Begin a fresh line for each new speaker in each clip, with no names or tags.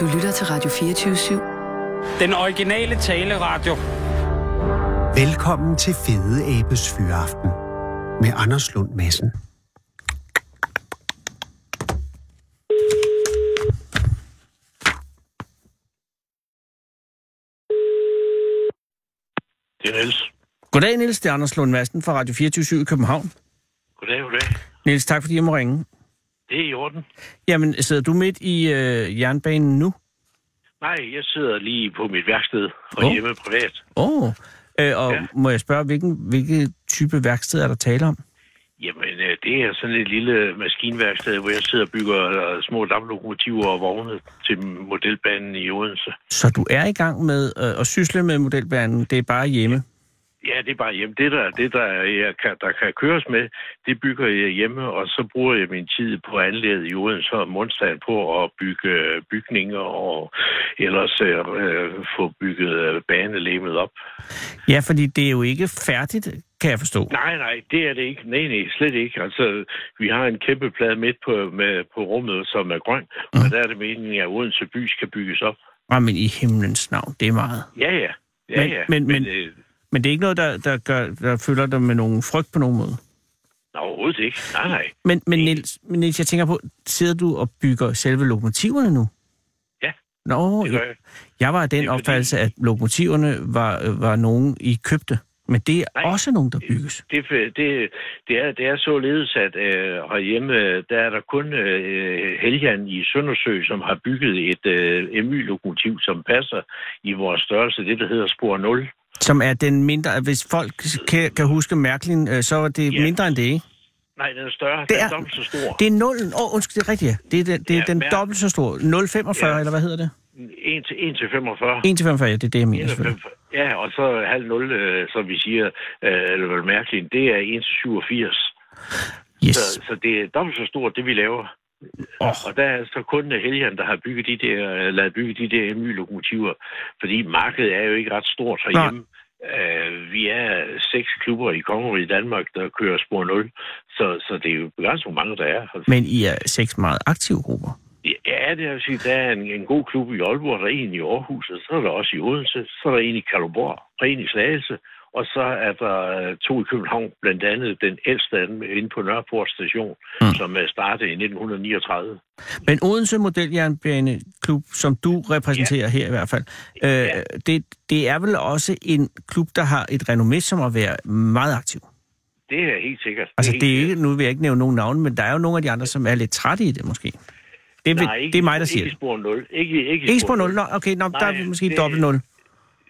Du lytter til Radio 24 /7.
Den originale taleradio.
Velkommen til Fede Abes Fyraften med Anders Lund Madsen.
Det er Niels.
Goddag, Niels. Det er Anders Lund Madsen fra Radio 24 i København.
Goddag, goddag.
Niels, tak fordi jeg må ringe.
Det er i orden.
Jamen, sidder du midt i øh, jernbanen nu?
Nej, jeg sidder lige på mit værksted og
Åh.
oh. hjemme privat.
Åh, oh. øh, og ja.
Ja.
må jeg spørge, hvilken, hvilken type værksted er der tale om?
Jamen, øh, det er sådan et lille maskinværksted, hvor jeg sidder og bygger øh, små damplokomotiver og vogne til modelbanen i Odense.
Så du er i gang med øh, at sysle med modelbanen, det er bare hjemme?
Ja, det er bare hjemme. Det, der, det der, jeg kan, der kan køres med, det bygger jeg hjemme, og så bruger jeg min tid på anlægget i Odense og onsdagen på at bygge øh, bygninger og ellers øh, øh, få bygget øh, banelæmet op.
Ja, fordi det er jo ikke færdigt, kan jeg forstå.
Nej, nej, det er det ikke. Nej, nej, slet ikke. Altså, vi har en kæmpe plade midt på, med, på rummet, som er grøn, og
Mhm.
der er det meningen, at Odense by skal bygges op.
Nej. men i himlens navn, det er meget.
Ja, ja. Ja,
Men-
ja.
men- men-
øh,
Men det er ikke noget, der, der, gør, der fylder dig med nogen frygt på nogen måde?
nej, overhovedet ikke. Nej, nej.
Men, men, Niels, men Niels, jeg tænker på, sidder du og bygger selve lokomotiverne nu?
Ja,
Nå,
Det
jeg,
gør jeg.
jeg var af den
Det er fordi-
opfattelse, at lokomotiverne var, øh, var nogen, I købte. Men det er
Nej.
også nogen, der bygges.
Det, det, det, er, det er således, at øh, herhjemme, øh, der er der kun øh, Heljan i Søndersø, som har bygget et øh, MY-lokomotiv, som passer i vores størrelse, det der hedder spor 0.
Som er den mindre... Hvis folk kan, kan huske Mærklin, øh, så er det
Ja.
mindre end det, ikke?
Nej, den er større. Det er,
Det
den
er-
er dobbelt så stor.
Det er nullen... Åh, oh, undskyld, det er rigtigt, ja. Det er den, det er
Ja,
den
Mær-
dobbelt så stor. 0,45,
Ja.
eller hvad hedder det?
1 til, 1 til 45.
1 til 45, ja, det er det, jeg mener selvfølgelig.
51. Ja, og så halv nul, øh, som vi siger, øh, eller vel mærkeligt, det er 1 til 87.
Yes.
Så, så det er dobbelt så stort, det vi laver.
Åh.
Og der er så kun Helgen, der har bygget de der, øh, lavet bygge de der MY-lokomotiver, fordi markedet er jo ikke ret stort herhjemme. Øh, vi er seks klubber i Kongeriget Danmark, der kører spor 0, så, så det er jo begrænset, hvor mange der er. Altså,
Men I er seks meget aktive grupper.
Ja, det vil sige, der er en, en god klub i Aalborg, der er en i Aarhus, og så er der også i Odense, så er der en i Kalundborg, og en i Slagelse, og så er der øh, to i København, blandt andet den ældste af dem inde på Nørreport station, mm. som øh, startede i 1939.
Men Odense Modeljernbaneklub, som du repræsenterer ja. her i hvert fald, øh, ja. det, det er vel også en klub, der har et renommé som at være meget aktiv.
Det er helt sikkert.
Altså,
helt
det er
sikkert.
ikke, nu vil jeg ikke nævne nogen navne, men der er jo nogle af de andre, som er lidt trætte i det måske. Det, vil,
Nej, ikke,
det er mig, der siger
ikke
det.
i spor 0. Ikke, ikke, i
Ikke spor 0. Nå, okay, nå, der er vi
Nej,
måske
det- øh,
dobbelt 0.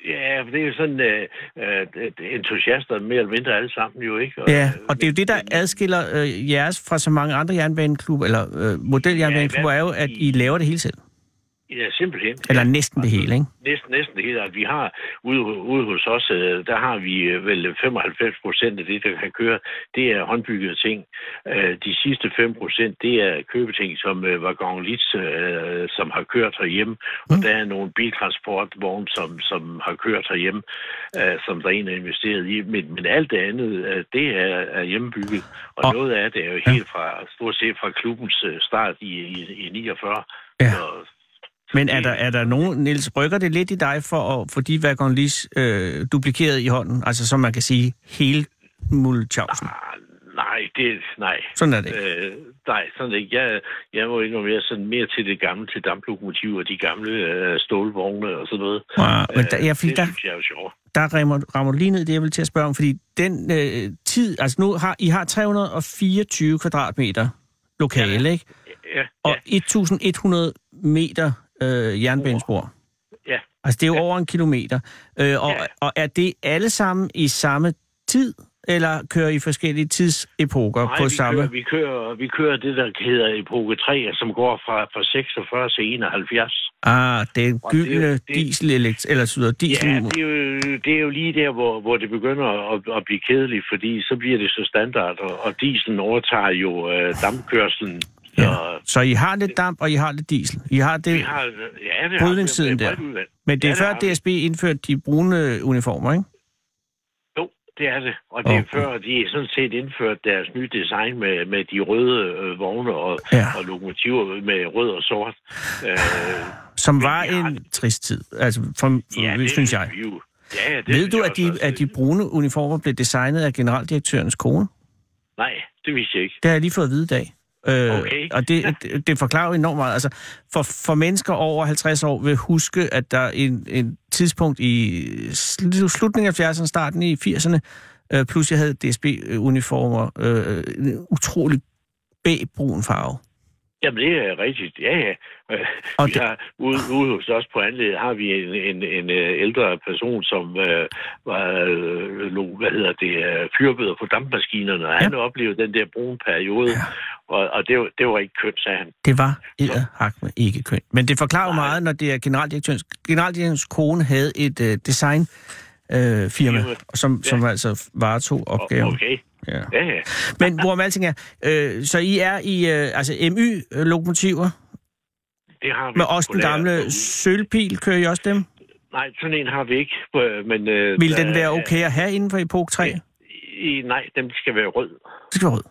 Ja, for det er jo sådan øh, øh, entusiaster mere eller mindre alle sammen jo, ikke?
Ja,
øh,
og det er jo det, der adskiller øh, jeres fra så mange andre jernbaneklubber, eller øh, modeljernbaneklubber,
Ja,
er
i
jo,
hvert fald
at
i-
I laver det hele selv.
Ja, simpelthen.
Eller
Ja.
næsten det hele, ikke?
Næsten, næsten det hele. At vi har ude, ude hos os, øh, der har vi øh, vel 95 procent af det, der kan køre, det er håndbyggede ting. Øh, De sidste 5 procent, det er købeting, som øh, Vagon Litz, øh, som har kørt herhjemme. Og der er nogle biltransportvogne, som, som har kørt herhjemme, øh, som der er en, der er investeret i. Men, men alt det andet, øh, det er, er hjemmebygget. Og,
Og-
og noget af det er jo helt fra, stort set fra klubbens øh, start i, i, i 49.
Ja.
Så,
Men er der, er der nogen, Niels, rykker det lidt i dig for at få de Vagon Lis øh, duplikeret i hånden? Altså, som man kan sige, hele Mulchausen.
Ah, Nej, det, nej.
Sådan er det ikke.
Øh, nej, sådan er det ikke. Jeg, jeg må indrømme, jeg er sådan mere til det gamle, til damplokomotiver og de gamle øh, stålvogne og sådan noget.
Wow, men der, ja,
Øh,
fordi
det
der,
synes jeg er jo sjovt.
der rammer, rammer du lige ned i det, jeg vil til at spørge om, fordi den øh, tid, altså nu har I har 324 kvadratmeter lokale, ikke?
Ja,
Og
ja,
1100 meter øh, jernbanespor.
ja.
Altså det er jo over en kilometer. Øh, og,
Ja.
og er det alle sammen i samme tid, eller kører I forskellige tidsepoker
Nej,
på
vi,
samme?
kører, vi, kører, vi kører det, der hedder epoke 3, som går fra, fra 46 til 71.
Ah, den
Og det er jo-
gyldne
det-
diesel eller sådan diesel.
Ja, det er, jo, det er jo lige der, hvor, hvor det begynder at, at blive kedeligt, fordi så bliver det så standard, og, og dieselen overtager jo øh, dampkørselen. Så,
ja. Så I har lidt damp, og I har lidt diesel. I har det,
Vi har, ja, det
Brydningstiden
har vi.
der.
Bredt udvalg.
men det er
Ja,
før
har vi.
DSB indførte de brune uniformer, ikke?
Jo, Det er det, og det er
Og-
før de sådan set indførte deres nye design med, med de røde øh, vogne og,
Ja.
ja. og lokomotiver med rød og sort. Øh,
Som var
jeg har-
en trist tid, altså, for, ja, det, synes jeg.
vi Jo. Ja, ja, det
Ved
synes
du,
jeg
at de,
også.
at de brune uniformer blev designet af generaldirektørens kone?
Nej, det vidste jeg ikke.
Det har jeg lige fået at vide i dag. Øh,
Okay.
Og det, det- det forklarer jo enormt meget. Altså, for, for mennesker over 50 år vil huske, at der er en, en tidspunkt i sl- slutningen af 70'erne, starten i 80'erne, øh, plus jeg havde DSB-uniformer, øh, en utrolig B-brun farve.
Jamen, det er rigtigt. Ja, ja. Øh,
Og
vi
det-
har, ude, ude hos os på anlægget har vi en, en, en øh, ældre person, som øh, var øh, lo- hvad hedder det, øh, fyrbøder på dampmaskinerne, og ja. han oplevede den der brune periode, ja. og, og det, var- det var ikke kønt, sagde han.
Det var edderhak med ikke køn. Men det forklarer jo
Nej.
meget, når det er generaldirektørens, generaldirektørens kone havde et øh, design øh, firma,
Firma.
som, som altså varetog
Og,
opgaven.
okay.
Ja.
Ja, ja.
Men hvor alting er, øh, så I er i øh, altså MY-lokomotiver,
Det har vi.
men også den
på lager.
gamle sølvpil, kører I også dem?
Nej, sådan en har vi ikke. øh, Men, øh,
Vil den
der-
være okay at have inden for Epoch 3? Det
I, nej, dem skal være rød.
skal være rød.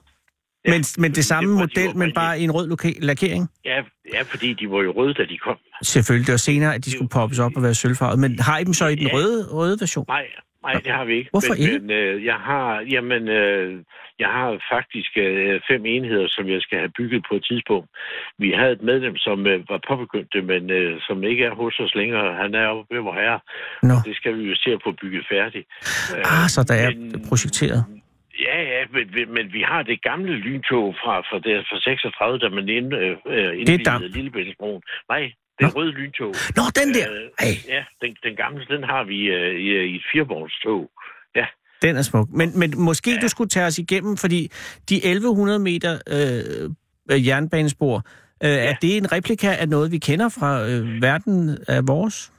Men, men det samme
det var de
model, men
oprindelige.
bare i en rød loka- lakering?
Ja, ja, fordi de var jo røde, da de kom.
Selvfølgelig, det var senere, at de skulle poppes op og være sølvfarvet. Men har I dem så i den
Ja.
røde, røde version?
Nej, nej, det har vi ikke.
Hvorfor
men,
ikke?
Men, øh, jeg har, jamen, øh, jeg har faktisk øh, fem enheder, som jeg skal have bygget på et tidspunkt. Vi havde et medlem, som øh, var påbegyndt det, men øh, som ikke er hos os længere. Han er oppe ved vor herre.
Nå.
Det skal vi jo se at få bygget færdigt. Øh,
Ah, så der er
men-
projekteret.
Ja, ja, men, men- men vi har det gamle lyntog fra, fra, der, fra 36, da man ind, øh, øh,
damp.
indvidede Lillebæltsbroen. Nej, det er røde lyntog.
Nå, den der!
Øh,
Ej,
Ja, den, den gamle, den har vi øh, i, i et firvognstog. Ja,
den er smuk. Men, men måske du skulle tage os igennem, fordi de 1100 meter øh, øh, jernbanespor, øh, er det en replika af noget, vi kender fra øh, verden af vores?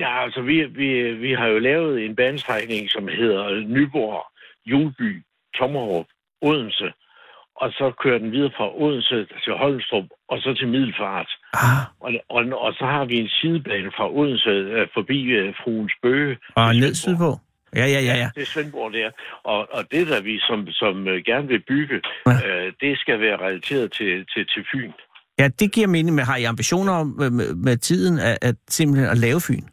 ja altså vi, vi, vi har jo lavet en banestrækning, som hedder Nyborg, Julby, Tommerup, Odense. Og så kører den videre fra Odense til Holmstrup, og så til Middelfart.
Ah,
Og, og, og så har vi en sidebane fra Odense øh, forbi øh, Fruens Bøge.
og
til
ned
Svendborg.
sydpå? Ja, ja, ja, ja.
Det er Svendborg der. Og, og det, der vi som, som øh, gerne vil bygge,
Ja.
øh, det skal være relateret til, til, til Fyn.
Ja, det giver mening, men har I ambitioner om øh, med, med tiden at, at simpelthen at lave Fyn?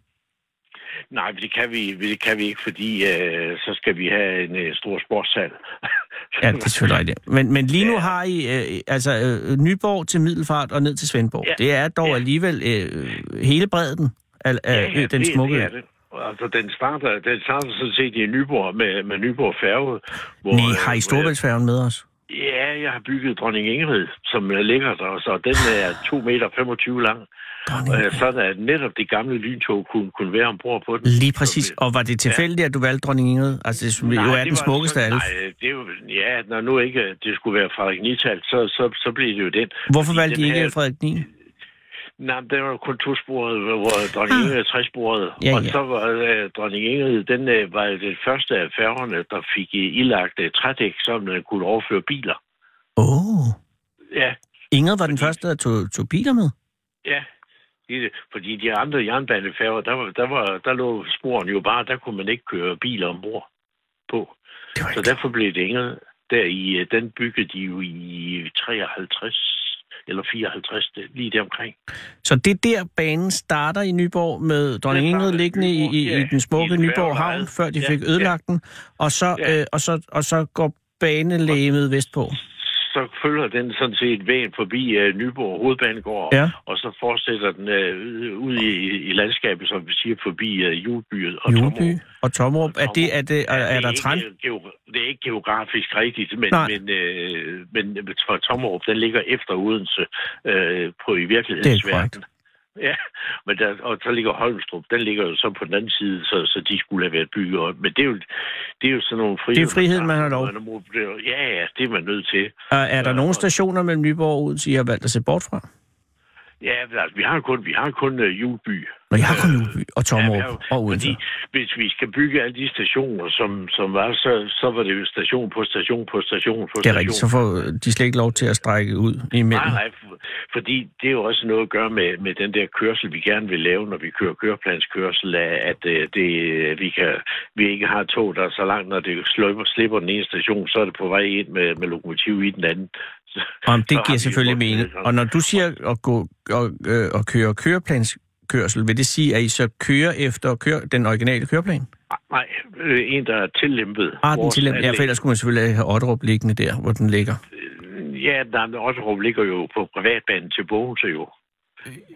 Nej, men det kan vi, det kan vi ikke, fordi øh, så skal vi have en øh, stor sportshal.
Ja, det er selvfølgelig rigtigt. Men, men lige nu har I øh, altså øh, Nyborg til Middelfart og ned til Svendborg.
Ja.
Det er dog
Ja.
alligevel øh, hele bredden af, af ja, Øh, den
det-
smukke
det
ø.
er det. Altså, den starter, den starter sådan set i Nyborg med, med Nyborg Færge. Hvor,
Nej, har I
øh,
Storbæltsfærgen med os?
Ja, jeg har bygget Dronning Ingrid, som øh, ligger der, og så den er 2,25 meter lang.
Dronning
Og
Ingrid.
øh, sådan at netop det gamle lyntog kunne, kunne være ombord på den. øh,
Lige præcis. Og var det tilfældigt, at du valgte dronning Ingrid? Altså, det som jo er
det
den
var
smukkeste af
sådan-
alle.
Nej, det er jo, ja, når nu ikke øh, det skulle være Frederik Nital, så, så, så blev det jo den.
Hvorfor
Fordi
valgte I
den
ikke
her-
Frederik 9?
Nej, men det var jo kun tosporet, hvor- hvor dronning
Ah.
Ingrid er tresporet.
Ja,
Og
ja.
så var øh, dronning Ingrid, den øh, var jo den første af færgerne, der fik øh, ilagt øh, trædæk, som den kunne overføre biler.
Åh. Oh.
Ja,
Ingrid var den
Fordi-
første, der tog, tog biler med.
ja. Det- Fordi de andre jernbanefærger, der, var, der, var, der lå sporene jo bare, der kunne man ikke køre biler ombord på.
Det var
Så
ikke...
derfor blev det Ingrid. Der i, øh, den byggede de jo i 53 eller 54, det- lige deromkring.
Så det er der, banen starter i Nyborg med dronning
Den starter
Ingrid
i
liggende i, i,
Nyborg,
i
ja.
den smukke
I den
Nyborg
færge, der
Havn,
er.
før de
Ja,
fik
ja.
ødelagt den. Og så,
Ja.
øh, og så, og så går banelæmet vestpå.
Så følger den sådan set vejen forbi øh, Nyborg Hovedbanegård,
Ja.
og så fortsætter den øh, ud i, i landskabet, som vi siger, forbi øh, Julby og
Juleby
Tommerup.
og Tomrup. Er, det, er, det, er,
Ja,
er der
ikke,
træn?
øh, geo- Det er ikke geografisk rigtigt, men,
Nej.
men, øh, men for Tommerup, den ligger efter Odense øh, på i virkelighedens
Det er korrekt.
verden. Ja, men der, og så ligger Holmstrup, den ligger jo så på den anden side, så, så de skulle have været bygget op. Men det er jo, det er jo sådan nogle frihed.
friheden, man har lov.
Ja, ja, det er man nødt til.
Er, er der
Øh,
nogle
og-
stationer mellem Nyborg og Odense, I har valgt at se bort fra?
Ja, men altså, vi har kun, vi har kun uh, Julby.
Når jeg har kun Juleby og Tommerup
Erhverv,
og Odense.
Fordi hvis vi skal bygge alle de stationer, som, som var, så, så var det jo station på station på station på
Det er
station.
rigtigt, så får de slet ikke lov til at strække ud imellem.
Nej, nej, for- fordi det er jo også noget at gøre med, med den der kørsel, vi gerne vil lave, når vi kører køreplanskørsel, af, at øh, det, vi, kan, vi ikke har tog, der er så langt, når det slipper, slipper den ene station, så er det på vej ind med, med lokomotiv i den anden. Så-
Om
så
det
har vi
giver
jo
selvfølgelig
brugt det
mening.
sådan.
Og når du siger at gå og, øh, og køre køreplanskørsel, vil det sige, at I så kører efter køre, den originale køreplan?
Nej, øh, en, der er tillæmpet.
Ah, den
vores
til, ja, for
anlæg.
ellers skulle man selvfølgelig have Otterup liggende der, hvor den ligger.
Ja, nej, men Otterup ligger jo på privatbanen til Bogense jo.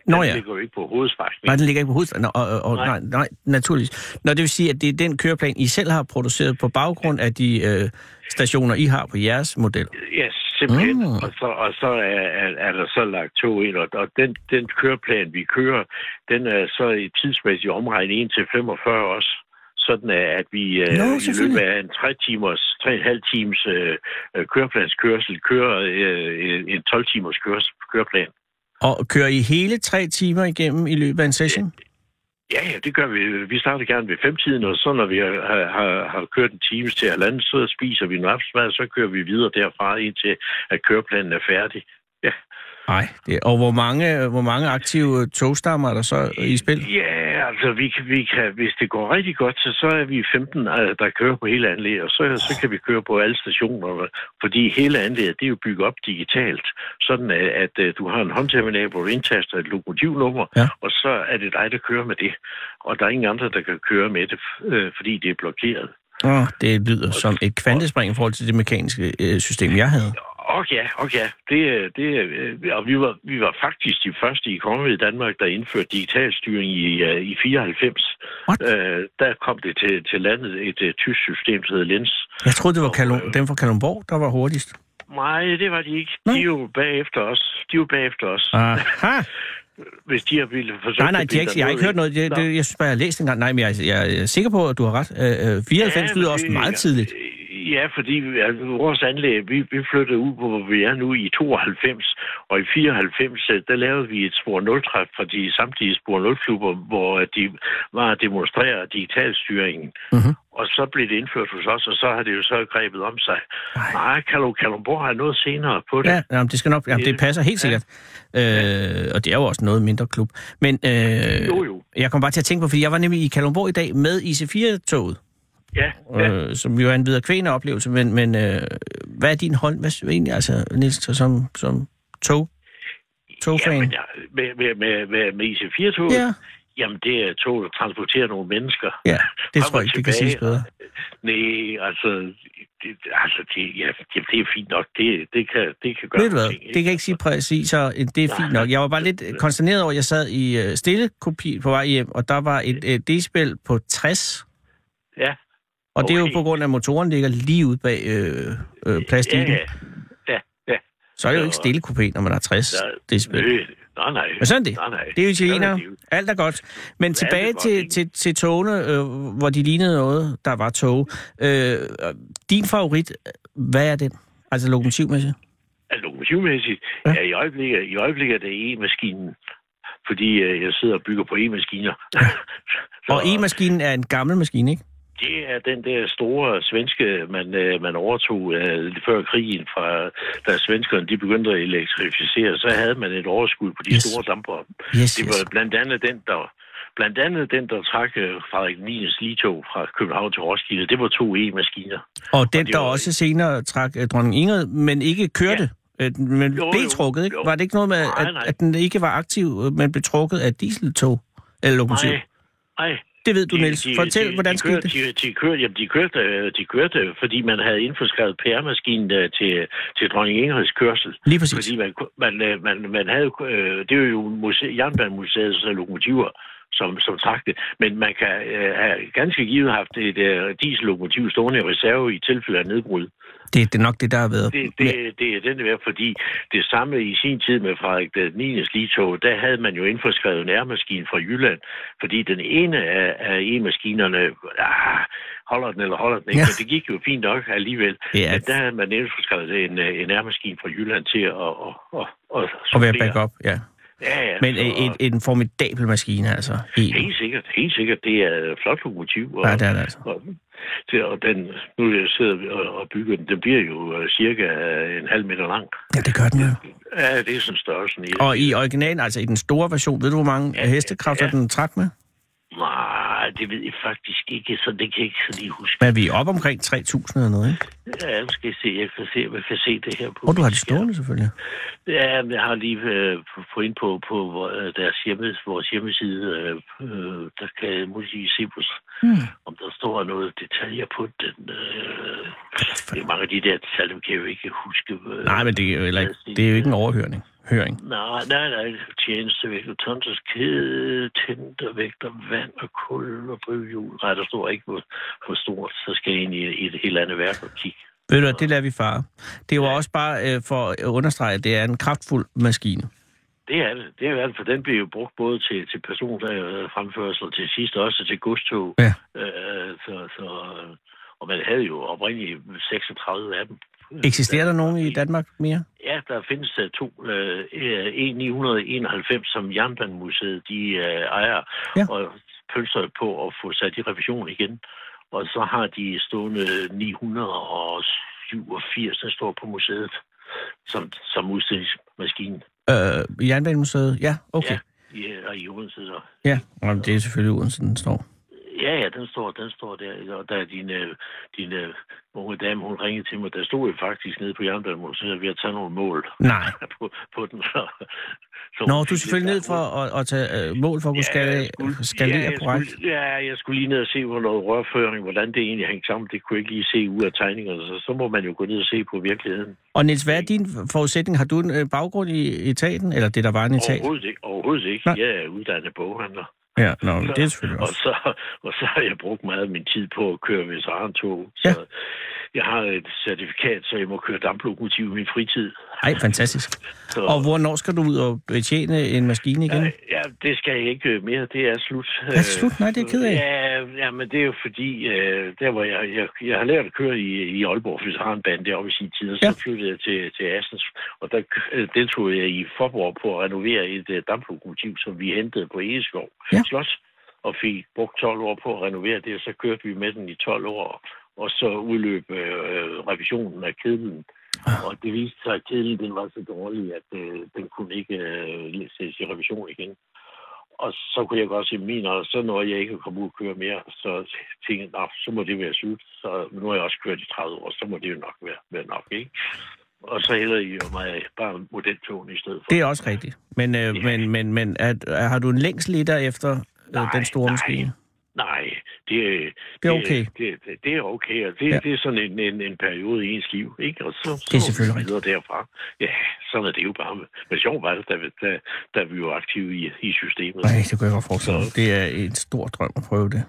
Nå
Den
ja,
ligger jo ikke på hovedstrækningen.
nej, den ligger ikke på hovedstaden. Og, og, og, nej.
Nej.
nej, naturligvis. Nå, det vil sige, at det er den køreplan, I selv har produceret på baggrund af de øh, stationer, I har på jeres model.
Ja, simpelthen.
Mm.
Mm. Og så, og så er, er, er der så lagt tog ind, og, og den, den køreplan, vi kører, den er så i tidsmæssig omregning 1 til 45 også. Sådan er, at vi øh,
Nå,
i løbet
selvfølgelig.
af en 3 timers, 3,5 times øh, øh, køreplanskørsel kører øh, en- en 12 timers kørs, køreplan.
Og kører I hele tre timer igennem i løbet af en session?
Ja, ja, det gør vi. Vi starter gerne ved femtiden, og så når vi har, har- har, har kørt en time til halvanden, så spiser vi en aftensmad, og så kører vi videre derfra indtil, at køreplanen er færdig.
Nej. Det, og hvor mange, hvor mange aktive togstammer er der så i spil?
Ja, altså, vi kan, vi kan, hvis det går rigtig godt, så, så er vi 15, øh, der kører på hele anlægget, og så, så kan vi køre på alle stationerne, fordi hele anlægget, det er jo bygget op digitalt, sådan at, at øh, du har en håndterminal, hvor du indtaster et lokomotivnummer,
Ja.
ja. og så er det dig, der kører med det, og der er ingen andre, der kan køre med det, øh, fordi det er blokeret.
Oh, det lyder som et kvantespring i forhold til det mekaniske øh, system, jeg havde.
Og ja, og ja. Det, øh, det, øh, og vi var, vi var faktisk de første i kongeriget Danmark, der indførte digital styring i, øh, i 94.
What?
Øh, der kom det til, til landet et øh, tysk system, der hedder Lens.
Jeg troede, det var Kalum- dem fra Kalundborg, der var hurtigst.
Nej, det var de ikke.
Nej.
De er jo bagefter os. De er jo bagefter os.
Aha.
Hvis de har ville forsøge...
Nej, nej, de har ikke, jeg har ikke hørt noget. Det, det, jeg synes bare, jeg har læst en gang. Nej, men jeg, jeg er sikker på, at du har ret. Øh, øh, 94 lyder også meget tidligt.
Ja, fordi altså, vores anlæg, vi, vi flyttede ud på, hvor vi er nu i 92, og i 94, øh, der lavede vi et spor 0-træf fra de samtlige spor 0-klubber, hvor øh, de var at demonstrere digitalstyringen.
Mhm.
Og så blev det indført hos os, og så har det jo så grebet om sig. Nej, Kalum, Kalumborg har noget senere på det.
Ja, jamen, det skal nok, jamen, det passer helt sikkert. Øh, og det er jo også noget mindre klub. Men øh,
Jo, jo.
jeg kom bare til at tænke på, fordi jeg var nemlig i Kalundborg i dag med IC4-toget,
Ja, ja.
øh, som jo er en videre kvæne oplevelse. Men, men øh, hvad er din hold? Hvad synes du egentlig, altså, Niels, så som, som tog?
ja
Togfan?
men, ja, med, med, med, med, med IC4-toget,
Ja,
jamen det er tog, der transporterer nogle mennesker.
ja, det
Frem
tror jeg
og
ikke, det kan
tilbage,
siges bedre.
Nej, altså, det, altså det, ja, det, det er fint nok. Det, det, kan, det kan gøre
Ved du hvad,
nogle ting,
det kan jeg ikke sige præcis, så øh, det er fint nok. Jeg var bare lidt konsterneret over, at jeg sad i øh, stille kopi på vej hjem, og der var et øh, decibel på 60,
Ja,
og det er jo
Okay.
på grund af, at motoren ligger lige ud bag øh, øh,
ja,
plastikken.
ja. ja, ja.
Så er det jo ikke stille kopi, når man har 60 decibel.
Nø, nej, nej.
Men sådan er det.
Nej, nej.
Det er jo
Sådan
italienere.
det jo.
Alt er godt. Men tilbage
godt,
til,
ikke?
til, til togene, øh, hvor de lignede noget, der var tog. Øh, din favorit, hvad er den? Altså lokomotivmæssigt?
Altså, lokomotivmæssigt,
Ja.
ja. ja i, øjeblikket, i øjeblikket er det e-maskinen. Fordi øh, jeg sidder og bygger på e-maskiner. Så-
Og e-maskinen er en gammel maskine, ikke?
Det er den der store svenske, man, øh, man overtog øh, lidt før krigen, fra, da svenskerne de begyndte at elektrificere, så havde man et overskud på de
Yes.
yes. store dampere.
Yes,
Det
yes.
var blandt andet den, der blandt andet den, der trak øh, Frederik Niels Litog fra København til Roskilde. Det var to E-maskiner.
Og den,
det
der
var-
også senere trak øh, dronning Ingrid, men ikke kørte, ja. men
Jo,
blev
jo,
trukket, ikke?
jo.
Var det ikke noget med,
Nej, nej.
at, at den ikke var aktiv, øh, men blev trukket af dieseltog eller lokomotiv?
Nej, nej.
Det ved du, Niels. Fortæl, hvordan
de
skete
kørte,
det?
De, de, kørte, jamen, de, kørte, øh, de kørte, fordi man havde indforskrevet PR-maskinen øh, til, til dronning Ingrids kørsel.
Lige præcis.
Fordi man, ku- man, øh, man, man havde, øh, det er jo muse- Jernbanemuseets øh, lokomotiver, som, som trak det. Men man kan øh, have ganske givet haft et øh, diesellokomotiv stående i reserve i tilfælde af nedbrud.
Det, det er nok det, der har været.
Det, det, det er den der, fordi det samme i sin tid med Frederik den 9. Litog, der havde man jo indforskrevet en airmaskine fra Jylland, fordi den ene af, af e-maskinerne, ah, holder den eller holder den ikke,
Ja.
ja. men det gik jo fint nok alligevel.
Det
Ja.
er-
Men der havde man indforskrevet en, øh, en airmaskine fra Jylland til at... at, at, at,
at være backup, ja.
Ja, ja.
Men øh,
så-
en, en formidabel maskine, altså. En.
Helt sikkert, helt sikkert. Det er et flot lokomotiv. Og,
Ja, det er det altså.
Og, til, og den, nu jeg sidder vi og, og bygger den, den bliver jo øh, cirka øh, en halv meter lang.
Ja, det gør den jo.
Ja, det er sådan størrelsen i det.
Og i originalen, altså i den store version, ved du, hvor mange ja, hestekræfter ja. den trak med?
Nej, det ved jeg faktisk ikke, så det kan jeg ikke så lige huske.
Men vi er oppe omkring 3.000 eller noget, ikke?
Ja, nu skal jeg se, jeg kan se, jeg kan se det her på.
Og du har
min
det
skærm.
stående, selvfølgelig.
Ja, men jeg har lige øh, på- på ind på, på vor- deres hjemmes, vores hjemmeside. Øh, øh, der kan jeg måske lige se, på, hmm. om der står noget detaljer på den. Øh, det er mange af de der detaljer, kan jeg jo ikke huske. Øh,
Nej, men det er jo, heller ikke, det er jo ikke en overhøring. Høring.
Nej, nej, nej. Tjenestevægt og tonsers kæde, tændervægt og vand og kul og drivhjul. Nej, der står ikke, hvor, hvor stort. Så skal jeg ind i, i et helt andet værk og kigge.
Ved du, hvad, det lader vi fare. Det var også bare øh, for at understrege, at det er en kraftfuld maskine.
Det er det. Det er det, for den bliver jo brugt både til, til personfremførsel og til sidst også til godstog.
Ja.
Øh, så, så, og man havde jo oprindeligt 36 af dem.
Eksisterer der nogen i Danmark mere?
Ja, der findes uh, to. Uh, en 991, som Jernbanemuseet de uh, ejer
Ja.
ja. og pølser på at få sat i revision igen. Og så har de stående 987, der står på museet som, som udstillingsmaskine.
Øh, Jernbanemuseet? Ja, okay.
Ja, i, og i Odense så.
Ja, ja. Jamen, det er selvfølgelig uden, den står.
Ja, ja, den står, den står der. Og der din, øh, din øh, unge dame, hun ringede til mig. Der stod jo faktisk nede på Jernbanemuseet ved at tage nogle mål
Nej.
på, på den. Så, så
Nå,
hun
du er
fik
selvfølgelig ned
lidt
for at, at tage øh, mål for at kunne
jeg
skalere,
skulle-
skalere
ja, jeg
korrekt.
Skulle, ja, jeg skulle lige ned og se, hvor noget rørføring, hvordan det egentlig hængte sammen. Det kunne jeg ikke lige se ud af tegningerne, så, så må man jo gå ned og se på virkeligheden.
Og Niels, hvad er din forudsætning? Har du en øh, baggrund i etaten, eller det, der var en etat?
Overhovedet ikke. Overhovedet ikke.
Nej.
Jeg er uddannet boghandler.
Ja, nå, men det er selvfølgelig
Og
også.
så, og så har jeg brugt meget af min tid på at køre veterantog. Så
Ja.
jeg har et certifikat, så jeg må køre damplokomotiv i min fritid.
Ej, fantastisk.
Så,
Og hvornår skal du ud og betjene en maskine igen?
Øh, Ja, det skal jeg ikke øh, mere. Det er slut.
Er det slut? Nej, det er jeg ked af.
Ja, ja, men det er jo fordi, øh, der hvor jeg, jeg, jeg har lært at køre i, i Aalborg Veteranband deroppe i sin tid, og så
Ja.
ja. flyttede jeg til, til Assens, og der øh, deltog jeg i Forborg på at renovere et øh, damplokomotiv, som vi hentede på Egeskov
Ja.
ja. Slot, og fik brugt 12 år på at renovere det, og så kørte vi med den i 12 år, og så udløb øh, revisionen af kedlen.
Ah.
Og det viste sig, at kedlen den var så dårlig, at øh, den kunne ikke øh, sættes i revision igen. Og så kunne jeg godt se min, og så når jeg ikke at komme ud og køre mere, så tænkte jeg, "Nå, så må det være slut. Så nu har jeg også kørt i 30 år, så må det jo nok være, være nok, ikke? Og så hælder I jo mig bare modeltogen i stedet for.
Det er også rigtigt. Men, øh, men, men, men at, er, har du en længsel i dig efter øh,
Nej,
den store
nej.
maskine?
Nej, det,
Det er okay.
Det, det, det er okay, og det,
Ja.
ja. det er sådan en, en, en periode i ens liv, ikke? Og så, så
Det er selvfølgelig
videre derfra. Ja, sådan er det jo bare. Men sjovt var det, da, vi- da, da vi var aktive i, i systemet.
Nej, det kunne jeg godt forestille mig. Det er en stor drøm at prøve det.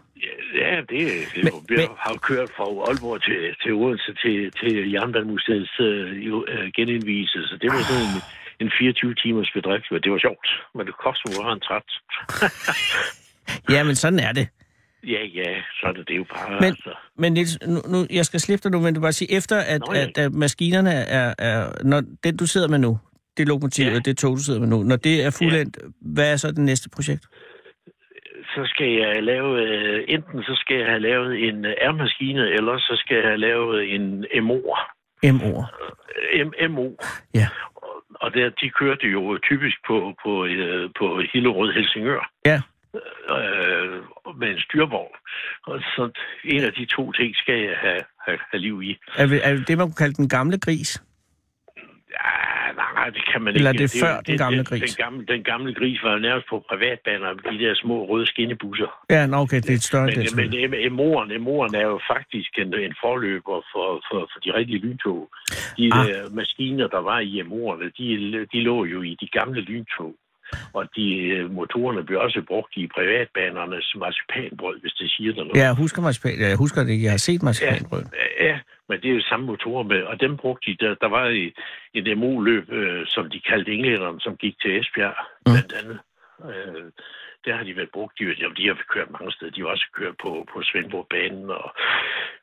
Ja, det, det
Men-
men, vi
men-
men, har jo kørt fra Aalborg til, til Odense til, til Jernbanemuseets øh, jo, øh, genindvielse, så det var sådan en, en 24-timers bedrift, men det var sjovt, men det kostede jo en træt.
Ja, men sådan er det.
Ja, ja, så er det, det er jo bare, men,
Men,
altså.
men Niels, nu, nu, jeg skal slippe dig nu, men du bare sige, efter at,
Nå, ja.
at, at maskinerne er, er når den du sidder med nu, det lokomotiv,
Ja.
ja. det tog, du sidder med nu, når det er fuldendt, hvad er så det næste projekt?
Så skal jeg lave, øh, enten så skal jeg have lavet en øh, R-maskine, eller så skal jeg have lavet en øh, MO.
M-ord.
Øh, M- MO.
Ja.
Og- Og der, de kørte jo typisk på, på, øh, på Hillerød Helsingør.
Ja.
øh, med en styrvogn. Og så en af de to ting skal jeg have, have, have liv i.
Er, vi- er det det, man kunne kalde den gamle gris?
Ja, Ah, nej, det kan man
Eller
ikke.
er det
jo-
før den gamle gris?
Den gamle, den gamle gris var jo nærmest på privatbaner med de der små røde skinnebusser.
Ja, nå, okay, det er et større
Men,
det,
men
selvfølgelig.
M- M-oren, M-oren er jo faktisk en, en forløber for, for, for de rigtige lyntog. De
Ah.
ah. der maskiner, der var i M-orerne, de, de lå jo i de gamle lyntog. Og de øh, motorerne blev også brugt i privatbanernes marcipanbrød, hvis det siger dig noget.
Ja, jeg husker marcipan. Ja, jeg husker det ikke. Jeg har set marcipanbrød.
Ja, men det er jo samme motorer med, og dem brugte de. Der, der var i- et MO-løb, øh, som de kaldte englænderne, som gik til Esbjerg,
Mm.
mm. blandt andet. Øh, der har de været brugt. De, jamen, de har kørt mange steder. De har også kørt på, på Svendborg-banen og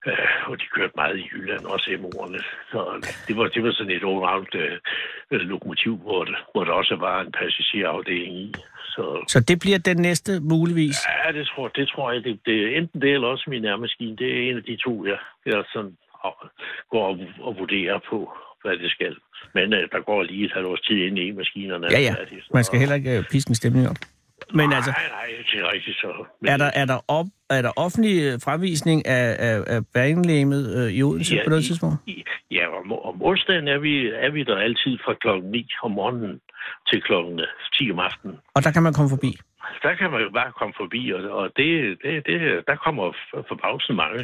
Øh, og de kørte meget i Jylland, også MO'erne. Så det var, det var sådan et all-round øh, øh, lokomotiv, hvor, der- hvor der også var en passagerafdeling i. Så
Så det bliver den næste, muligvis.
ja, det tror, det tror jeg. Det, det, er enten det, eller også min nærmaskine. Det er en af de to, jeg, jeg sådan og- går og, og vurderer på, hvad det skal. Men øh, der går lige et halvt års tid, inden en maskinerne
Ja, ja.
er færdige, så-
Man skal heller ikke øh, piske en stemning op. Men altså,
Nej, nej, det er rigtigt så. Men,
er der, er der, op, er der offentlig øh, fremvisning af, af, af banelæmet øh, i Odense ja, på noget
i-
tidspunkt?
i- Ja, om, om onsdagen er vi, er vi der altid fra klokken 9 om morgenen til klokken 10 om aftenen.
Og der kan man komme forbi.
Der kan man jo bare komme forbi, og, og det, det, det, der kommer f- forbavsende mange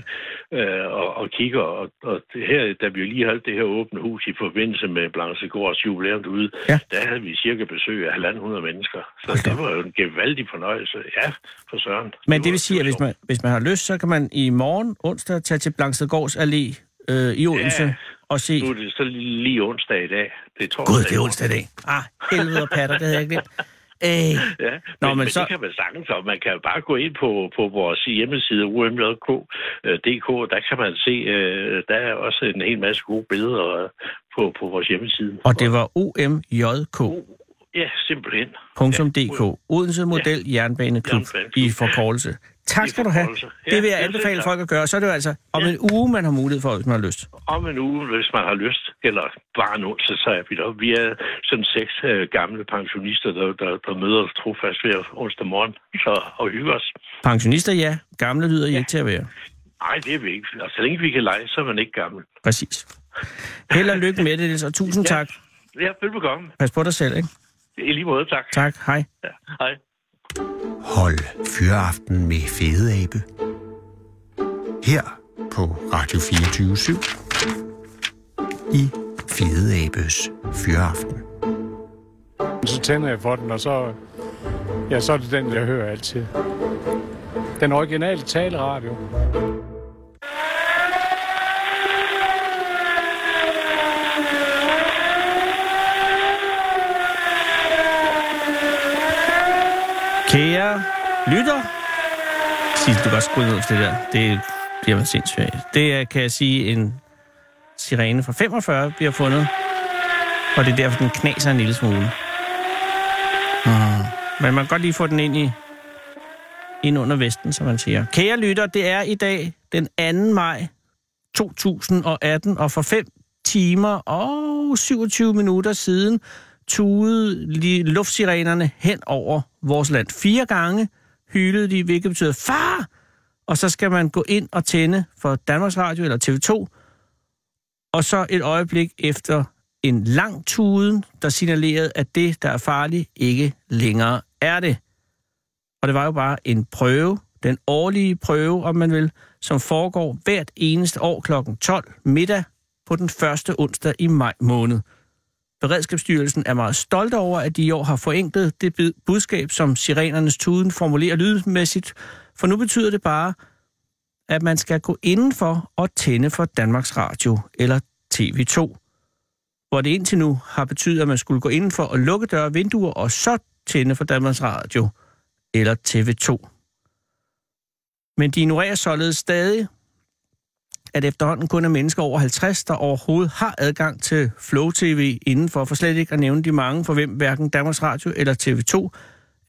øh, og, og kigger. Og, og det her, da vi jo lige holdt det her åbne hus i forbindelse med Blancegårds jubilæum derude,
Ja.
ja. der havde vi cirka besøg af 1.500 mennesker. Så det var jo en gevaldig fornøjelse. Ja, for søren.
Men det
var-
vil sige, at
var
hvis man, hvis man har lyst, så kan man i morgen onsdag tage til Blankstedgårds Allé øh, i Odense ja.
Ja.
og se...
Nu er det så lige onsdag i dag. Det er torsdag.
Gud, det
i
er
morgen.
onsdag i dag. Ah, helvede og patter, det havde jeg ikke glemt. Øh,
Ja,
Nå,
Nå, men,
men
men
så-
så... det kan man sagtens, og man kan jo bare gå ind på, på vores hjemmeside umj.dk, øh, der kan man se, øh, der er også en hel masse gode billeder øh, på, på vores hjemmeside.
og det var omjk.dk,
Ja, simpelthen.
Odense Model Jernbaneklub i
Jernbaneklub.
forkortelse. Tak
I
skal du have.
forkortelse. Ja,
Det vil jeg
ja,
anbefale
selv tak.
folk at gøre. Så er det jo altså om
Ja.
en uge, man har mulighed for, hvis man har lyst.
Om en uge, hvis man har lyst, eller bare en onsdag, så er vi der. Vi er sådan seks øh, gamle pensionister, der, der, der møder os trofast hver onsdag morgen så, og hygger os.
Pensionister, ja. Gamle lyder I ikke til at være.
Nej, det er vi ikke. Og så længe vi kan lege, så er man ikke gammel.
Præcis. Held og lykke med det, Niels, og tusind
Ja.
tak.
Ja, velbekomme.
Pas på dig selv, ikke?
I lige måde, tak.
Tak, hej.
Ja, hej.
Hold Fyraften med Fede Abe. Her på Radio 24 i Fede Abes Fyraften.
Så tænder jeg for den, og så, ja, så er det den, jeg hører altid. Den originale taleradio.
Kære lytter. Sig, du kan godt skrue ned for det der. Det bliver man sindssygt af. Det er, kan jeg sige, en sirene fra 45 bliver fundet. Og det er derfor, den knaser en lille smule. Mm. Men man kan godt lige få den ind i ind under vesten, som man siger. Kære lytter, det er i dag den 2. maj 2018, og for 5 timer og 27 minutter siden tuede li- luftsirenerne hen over vores land. Fire gange hylede de, hvilket betyder far! Og så skal man gå ind og tænde for Danmarks Radio eller TV2, og så et øjeblik efter en lang tuden, der signalerede, at det, der er farligt, ikke længere er det. Og det var jo bare en prøve, den årlige prøve, om man vil, som foregår hvert eneste år kl. 12 middag på den første onsdag i maj måned. Beredskabsstyrelsen er meget stolt over, at de i år har forenklet det bid- budskab, som sirenernes tuden formulerer lydmæssigt, for nu betyder det bare, at man skal gå indenfor og tænde for Danmarks Radio eller TV2 hvor det indtil nu har betydet, at man skulle gå indenfor og lukke døre og vinduer, og så tænde for Danmarks Radio eller TV2. Men de ignorerer således stadig, at efterhånden kun er mennesker over 50, der overhovedet har adgang til Flow TV indenfor, for slet ikke at nævne de mange, for hvem hverken Danmarks Radio eller TV2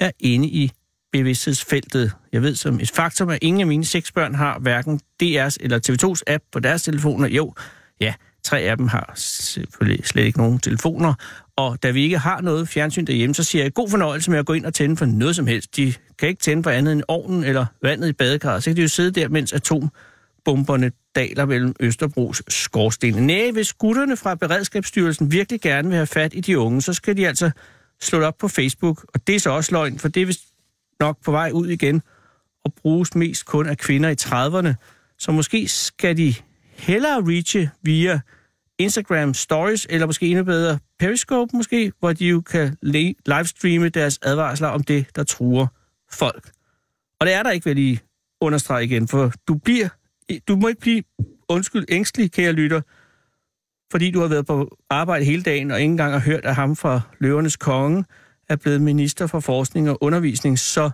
er inde i bevidsthedsfeltet. Jeg ved som et faktum, at ingen af mine seks børn har hverken DR's eller TV2's app på deres telefoner. Jo, ja, tre af dem har selvfølgelig slet ikke nogen telefoner. Og da vi ikke har noget fjernsyn derhjemme, så siger jeg god fornøjelse med at gå ind og tænde for noget som helst. De kan ikke tænde for andet end ovnen eller vandet i badekarret. Så kan de jo sidde der, mens atombomberne daler mellem Østerbros skorstene. Næh, hvis gutterne fra Beredskabsstyrelsen virkelig gerne vil have fat i de unge, så skal de altså slå det op på Facebook. Og det er så også løgn, for det er vist nok på vej ud igen og bruges mest kun af kvinder i 30'erne. Så måske skal de hellere reache via Instagram Stories, eller måske endnu bedre Periscope måske, hvor de jo kan le- livestreame deres advarsler om det, der truer folk. Og det er der ikke, vil jeg lige understrege igen, for du bliver, du må ikke blive, undskyld, ængstelig, kære lytter, fordi du har været på arbejde hele dagen og ikke engang har hørt, at ham fra Løvernes Konge er blevet minister for forskning og undervisning, så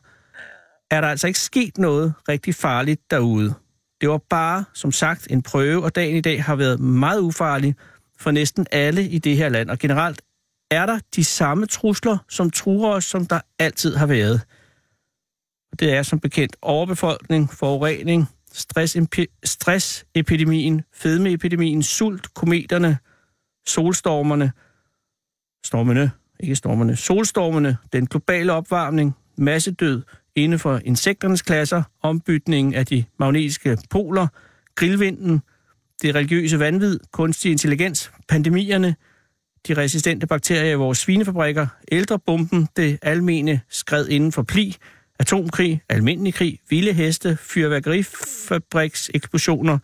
er der altså ikke sket noget rigtig farligt derude. Det var bare, som sagt, en prøve, og dagen i dag har været meget ufarlig for næsten alle i det her land. Og generelt er der de samme trusler, som truer os, som der altid har været. Og det er som bekendt overbefolkning, forurening, stressempi- stressepidemien, fedmeepidemien, sult, kometerne, solstormerne, stormene, ikke stormerne, solstormene, den globale opvarmning, massedød inden for insekternes klasser, ombytningen af de magnetiske poler, grillvinden, det religiøse vanvid, kunstig intelligens, pandemierne, de resistente bakterier i vores svinefabrikker, ældrebomben, det almene skred inden for pli, atomkrig, almindelig krig, vilde heste, fyrværkerifabrikseksplosioner,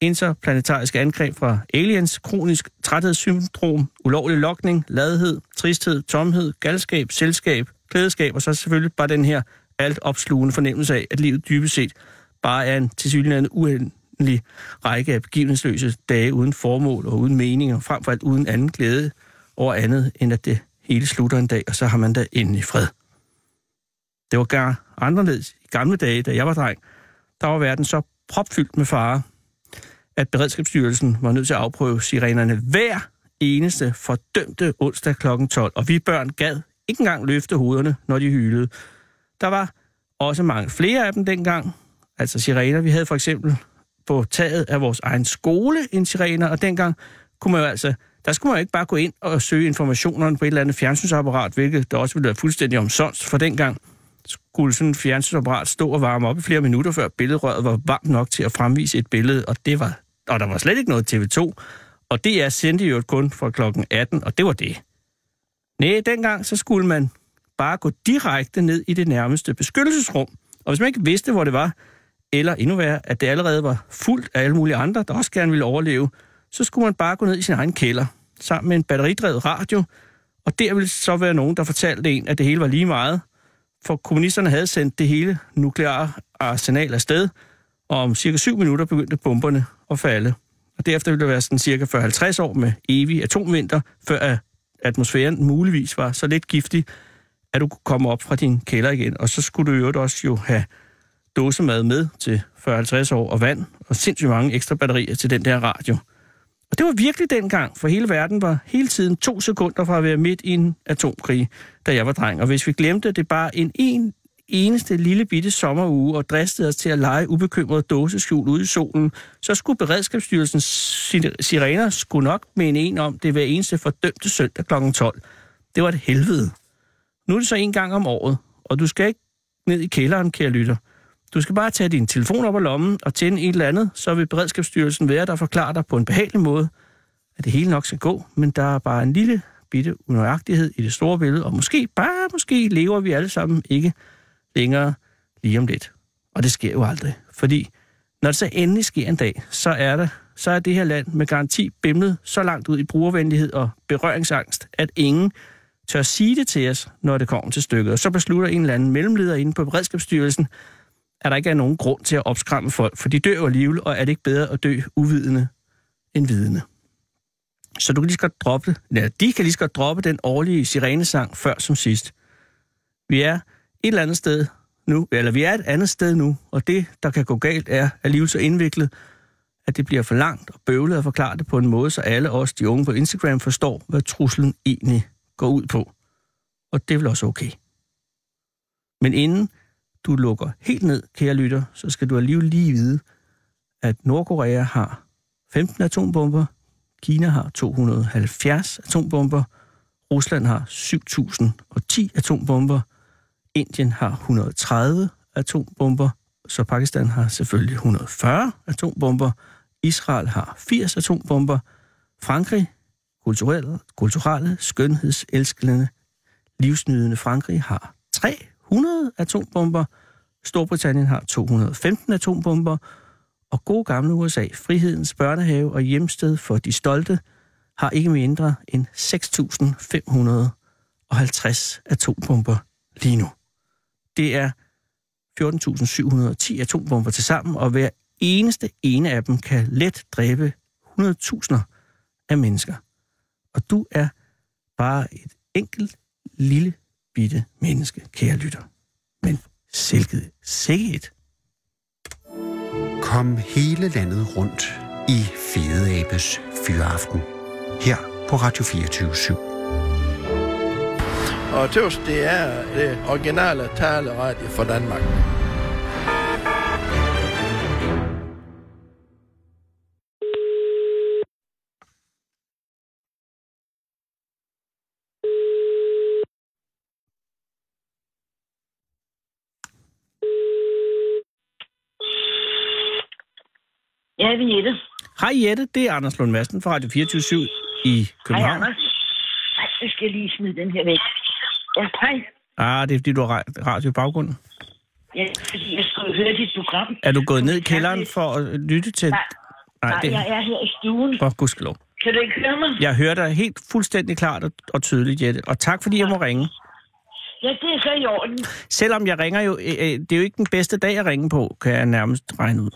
interplanetariske angreb fra aliens, kronisk træthedssyndrom, ulovlig lokning, ladhed, tristhed, tomhed, galskab, selskab, klædeskab, og så selvfølgelig bare den her alt opslugende fornemmelse af, at livet dybest set bare er en tilsyneladende uendelig række af begivenhedsløse dage uden formål og uden mening, og frem for alt uden anden glæde over andet, end at det hele slutter en dag, og så har man da endelig fred. Det var gar anderledes i gamle dage, da jeg var dreng. Der var verden så propfyldt med fare, at Beredskabsstyrelsen var nødt til at afprøve sirenerne hver eneste fordømte onsdag kl. 12, og vi børn gad ikke engang løfte hovederne, når de hylede. Der var også mange flere af dem dengang, altså sirener. Vi havde for eksempel på taget af vores egen skole en sirener, og dengang kunne man jo altså, der skulle man jo ikke bare gå ind og søge informationerne på et eller andet fjernsynsapparat, hvilket der også ville være fuldstændig omsonst, for dengang skulle sådan et fjernsynsapparat stå og varme op i flere minutter, før billedrøret var varmt nok til at fremvise et billede, og det var og der var slet ikke noget TV2, og DR sendte jo kun fra klokken 18, og det var det. Nej, dengang så skulle man bare gå direkte ned i det nærmeste beskyttelsesrum, og hvis man ikke vidste, hvor det var, eller endnu værre, at det allerede var fuldt af alle mulige andre, der også gerne ville overleve, så skulle man bare gå ned i sin egen kælder, sammen med en batteridrevet radio, og der ville så være nogen, der fortalte en, at det hele var lige meget, for kommunisterne havde sendt det hele nukleare arsenal afsted, og om cirka 7 minutter begyndte bomberne at falde. Og derefter ville der være sådan cirka 40-50 år med evig atomvinter, før at atmosfæren muligvis var så lidt giftig, at du kunne komme op fra din kælder igen. Og så skulle du i øvrigt også jo have dåsemad med til 40-50 år og vand og sindssygt mange ekstra batterier til den der radio. Og det var virkelig dengang, for hele verden var hele tiden to sekunder fra at være midt i en atomkrig, da jeg var dreng. Og hvis vi glemte det bare en, en eneste lille bitte sommeruge og dristede os til at lege ubekymret dåseskjul ude i solen, så skulle Beredskabsstyrelsens si- sirener skulle nok mene en om det hver eneste fordømte søndag kl. 12. Det var et helvede. Nu er det så en gang om året, og du skal ikke ned i kælderen, kære lytter. Du skal bare tage din telefon op af lommen og tænde et eller andet, så vil Beredskabsstyrelsen være der og forklare dig på en behagelig måde, at det hele nok skal gå, men der er bare en lille bitte unøjagtighed i det store billede, og måske, bare måske, lever vi alle sammen ikke længere lige om lidt. Og det sker jo aldrig, fordi når det så endelig sker en dag, så er det, så er det her land med garanti bimlet så langt ud i brugervenlighed og berøringsangst, at ingen tør sige det til os, når det kommer til stykket. Og så beslutter en eller anden mellemleder inde på Beredskabsstyrelsen, at der ikke er nogen grund til at opskræmme folk, for de dør jo alligevel, og er det ikke bedre at dø uvidende end vidende. Så du kan lige så godt droppe, ja, de kan lige så godt droppe den årlige sirenesang før som sidst. Vi er et eller andet sted nu, eller vi er et andet sted nu, og det, der kan gå galt, er, at livet så indviklet, at det bliver for langt og bøvlet at forklare det på en måde, så alle os, de unge på Instagram, forstår, hvad truslen egentlig går ud på. Og det er vel også okay. Men inden du lukker helt ned, kære lytter, så skal du alligevel lige vide, at Nordkorea har 15 atombomber, Kina har 270 atombomber, Rusland har 7010 atombomber, Indien har 130 atombomber, så Pakistan har selvfølgelig 140 atombomber, Israel har 80 atombomber, Frankrig, kulturelle, kulturelle skønhedselskende, livsnydende Frankrig har 300 atombomber, Storbritannien har 215 atombomber, og gode gamle USA, frihedens børnehave og hjemsted for de stolte, har ikke mindre end 6.550 atombomber lige nu. Det er 14.710 atombomber til sammen, og hver eneste ene af dem kan let dræbe 100.000 af mennesker. Og du er bare et enkelt lille bitte menneske, kære lytter. Men silket sikkert.
Kom hele landet rundt i Fede Abes Fyraften. Her på Radio 24 /7.
Og tøvs, det er det originale taleradio for Danmark.
Øh,
Ja, vi er Jette.
Hej Jette, det er Anders Lund Madsen fra Radio 24 i
Hej,
København.
Anders. Ej, nu skal jeg lige smide den her væk. Ja, hej.
Ah, det er fordi, du har ra- radio i baggrunden.
Ja, fordi jeg skulle høre dit program.
Er du gået ned i kælderen for at lytte til...
Nej.
Nej,
Nej,
det
jeg er her i stuen.
Åh, gudskelov.
Kan du ikke høre mig?
Jeg hører dig helt fuldstændig klart og, og tydeligt, Jette. Og tak, fordi jeg må ringe.
Ja, det er så i orden.
Selvom jeg ringer jo... Øh, øh, det er jo ikke den bedste dag at ringe på, kan jeg nærmest regne ud.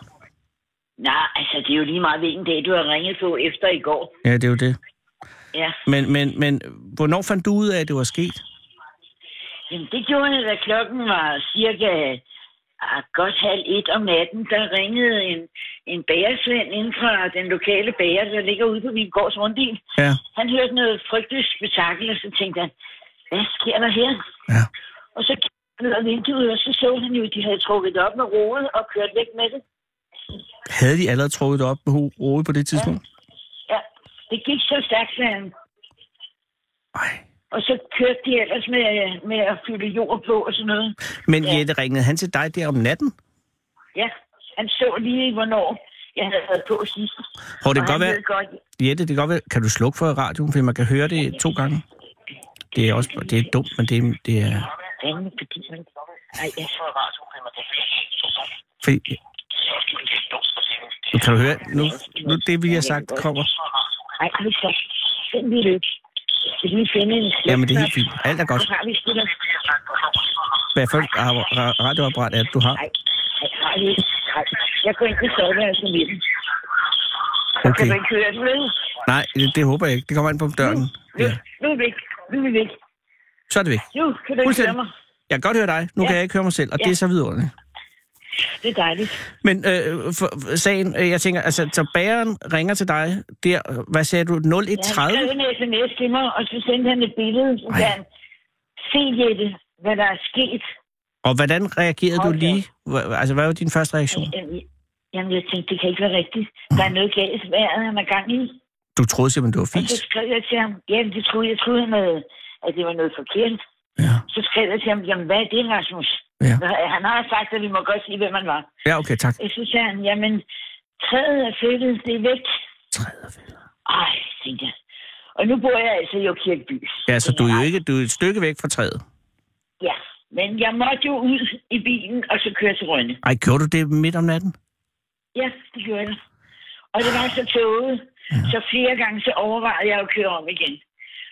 Nej, altså, det er jo lige meget, hvilken dag du har ringet på efter i går.
Ja, det er jo det.
Ja,
Men, men, men hvornår fandt du ud af, at det var sket?
Jamen, det gjorde jeg, da klokken var cirka ah, godt halv et om natten. Der ringede en, en bagersvend inden fra den lokale bager, der ligger ude på min gårds runddel.
Ja.
Han hørte noget frygteligt spektakel, og så tænkte han, hvad sker der her?
Ja.
Og så kiggede han ud af vinduet, og så så han jo, at de havde trukket det op med rodet og kørt væk med det.
Havde de allerede trukket det op med ho- rode på det tidspunkt?
Ja, det gik så stærkt, sagde han.
Nej.
Og så kørte de ellers med, med at fylde jord på og sådan noget.
Men Jette, ringede han til dig der om natten?
Ja, han så lige, hvornår jeg havde været på sidst.
Hvor det
Og
kan godt
han
være...
ved godt,
Jette, det kan godt være... Kan du slukke for radioen, fordi man kan høre det to gange? Det er også... Det er dumt, men det er... Det er
fanden, fordi man... Ej, jeg får
fordi, nu kan du høre... Nu, nu det, vi har sagt, kommer...
Ej, har vi så? Find vi det. Skal vi lige finde en slet?
Jamen, det er helt fint. Alt er godt.
har vi sgu da.
Hvad for et ra- ra- radioapparat er det, du har?
Ej, ej, har vi Ej, jeg går ind i soveværelset med den. Okay. Kan
Okay.
du ikke høre den, vel?
Nej, det, det håber jeg ikke. Det kommer an på døren.
Nu,
Ja.
nu er vi væk. Nu er vi væk.
Så er det væk.
Nu kan du ikke
Fuldstændig.
høre mig.
Jeg kan godt høre dig. Nu
Ja.
kan jeg ikke høre mig selv, og
Ja.
det er så vidunderligt.
Det er dejligt.
Men øh, for, for sagen, øh, jeg tænker, altså, så bageren ringer til dig der, øh, hvad sagde du,
Ja, han
0130?
skrev en sms til mig, og så sendte han et billede, så sagde han, se Jette, hvad der er sket.
Og hvordan reagerede du
Hold da.
lige? Hva- Altså, hvad var din første reaktion?
Jamen, Jamen, jeg tænkte, det kan ikke være rigtigt. Der er noget galt, hvad er han er gang i?
Du troede simpelthen, det var
Og så
fis.
skrev jeg til ham, jamen, det troede jeg, troede han havde, at det var noget forkert.
Ja.
Så skrev jeg til ham, jamen, hvad er det, Rasmus?
Ja.
Han har sagt, at vi må godt sige, hvem man var.
ja, okay, tak.
Så sagde han, jamen, træet er flyttet, det er væk.
Træder fælder.
Ej, tænkte jeg. Og nu bor jeg altså i Kirkeby.
Ja, så du er jo ikke, du er et stykke væk fra træet.
Ja, men jeg måtte jo ud i bilen, og så køre til Rønne.
Ej, gjorde du det midt om natten?
Ja, det gjorde jeg. Og det var så tåget, så flere gange så overvejede jeg at køre om igen.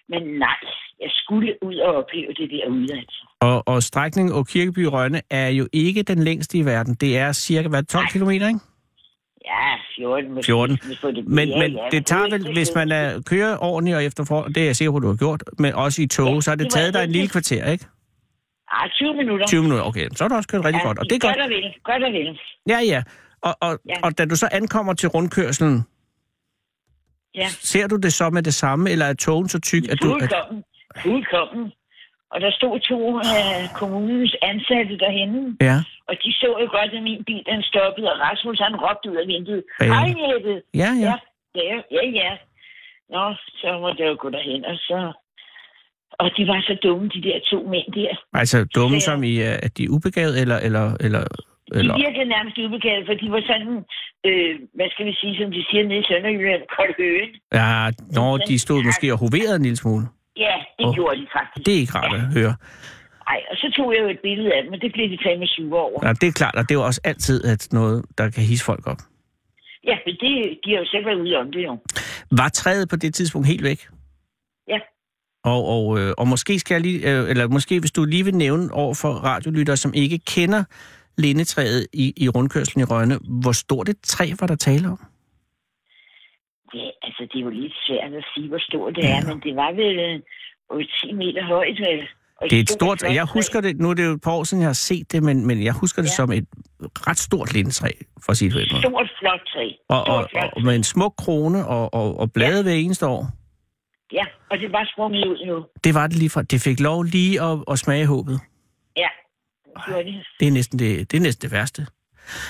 Men nej, jeg skulle ud og opleve det derude, altså.
Og, og strækningen og Kirkeby Rønne er jo ikke den længste i verden. Det er cirka, hvad, 12 km, ikke?
Ja, 14 måske.
14.
hvis man får det-
Men,
ja,
men
ja,
det tager
er
vel,
ikke
hvis
så
man
slemt.
er, kører ordentligt og efterfor, det er jeg sikker på, du har gjort, men også i tog,
Ja,
så har det
det var
taget dig en
det.
lille kvarter, ikke?
Ah, 20 minutter.
20 minutter, okay. Så har du også kørt rigtig
Ja,
godt, og det er godt.
Godt og vel, godt og vel.
Ja, ja. Og, og, ja.
Ja.
og da du så ankommer til rundkørselen,
Ja,
ser du det så med det samme, eller er togen så tyk, at du... At,
fuldkommen. Fuldkommen. Og der stod to af kommunens ansatte derhenne,
ja,
og de så jo godt, at min bil den stoppede, og Rasmus han råbte ud af vinduet,
Bager.
Hej, Jette!
ja, ja.
Ja, ja, ja, ja. Nå, så måtte jeg jo gå derhen, og så... Og de var så dumme, de der to mænd der.
Altså dumme
Ja.
som i, øh, at de er ubegavede, eller... eller, eller, eller.
De virkede nærmest ubegavede, for de var sådan, øh, hvad skal vi sige, som de siger nede i Sønderjylland, kold høen.
Ja, når de stod måske og hoverede en lille smule.
Ja, det
Åh.
oh. gjorde de faktisk.
Det er ikke rart at høre.
Nej, og så tog jeg jo et billede af dem, og det blev de fandme sure over.
Ja, det er klart, og det er jo også altid at noget, der kan hisse folk op.
Ja, men det, de har jo selv været ude om det jo.
Var træet på det tidspunkt helt væk?
Ja.
Og, og, øh, og måske skal jeg lige, øh, eller måske hvis du lige vil nævne over for radiolyttere, som ikke kender lindetræet i, i rundkørslen i Rønne, hvor stort et træ var der tale om?
Ja, altså, det er jo lidt svært at sige, hvor stort det er, men det var vel øh, over 10 meter højt, vel? Og
Det er et stort,
flot
jeg
træ.
husker det, nu er det jo et par år siden, jeg har set det, men, men jeg husker det ja.
Ja.
som et ret stort lindtræ, for at sige det på den måde.
Stort flot træ.
Og,
Stort,
og,
flot
og
træ.
med en smuk krone og, og, og blade ja. hver eneste år.
Ja, og det er bare sprunget ud nu.
Det var det lige fra. Det fik lov lige at, at smage håbet.
Ja, det gjorde det.
Det er næsten det, det, er næsten det værste.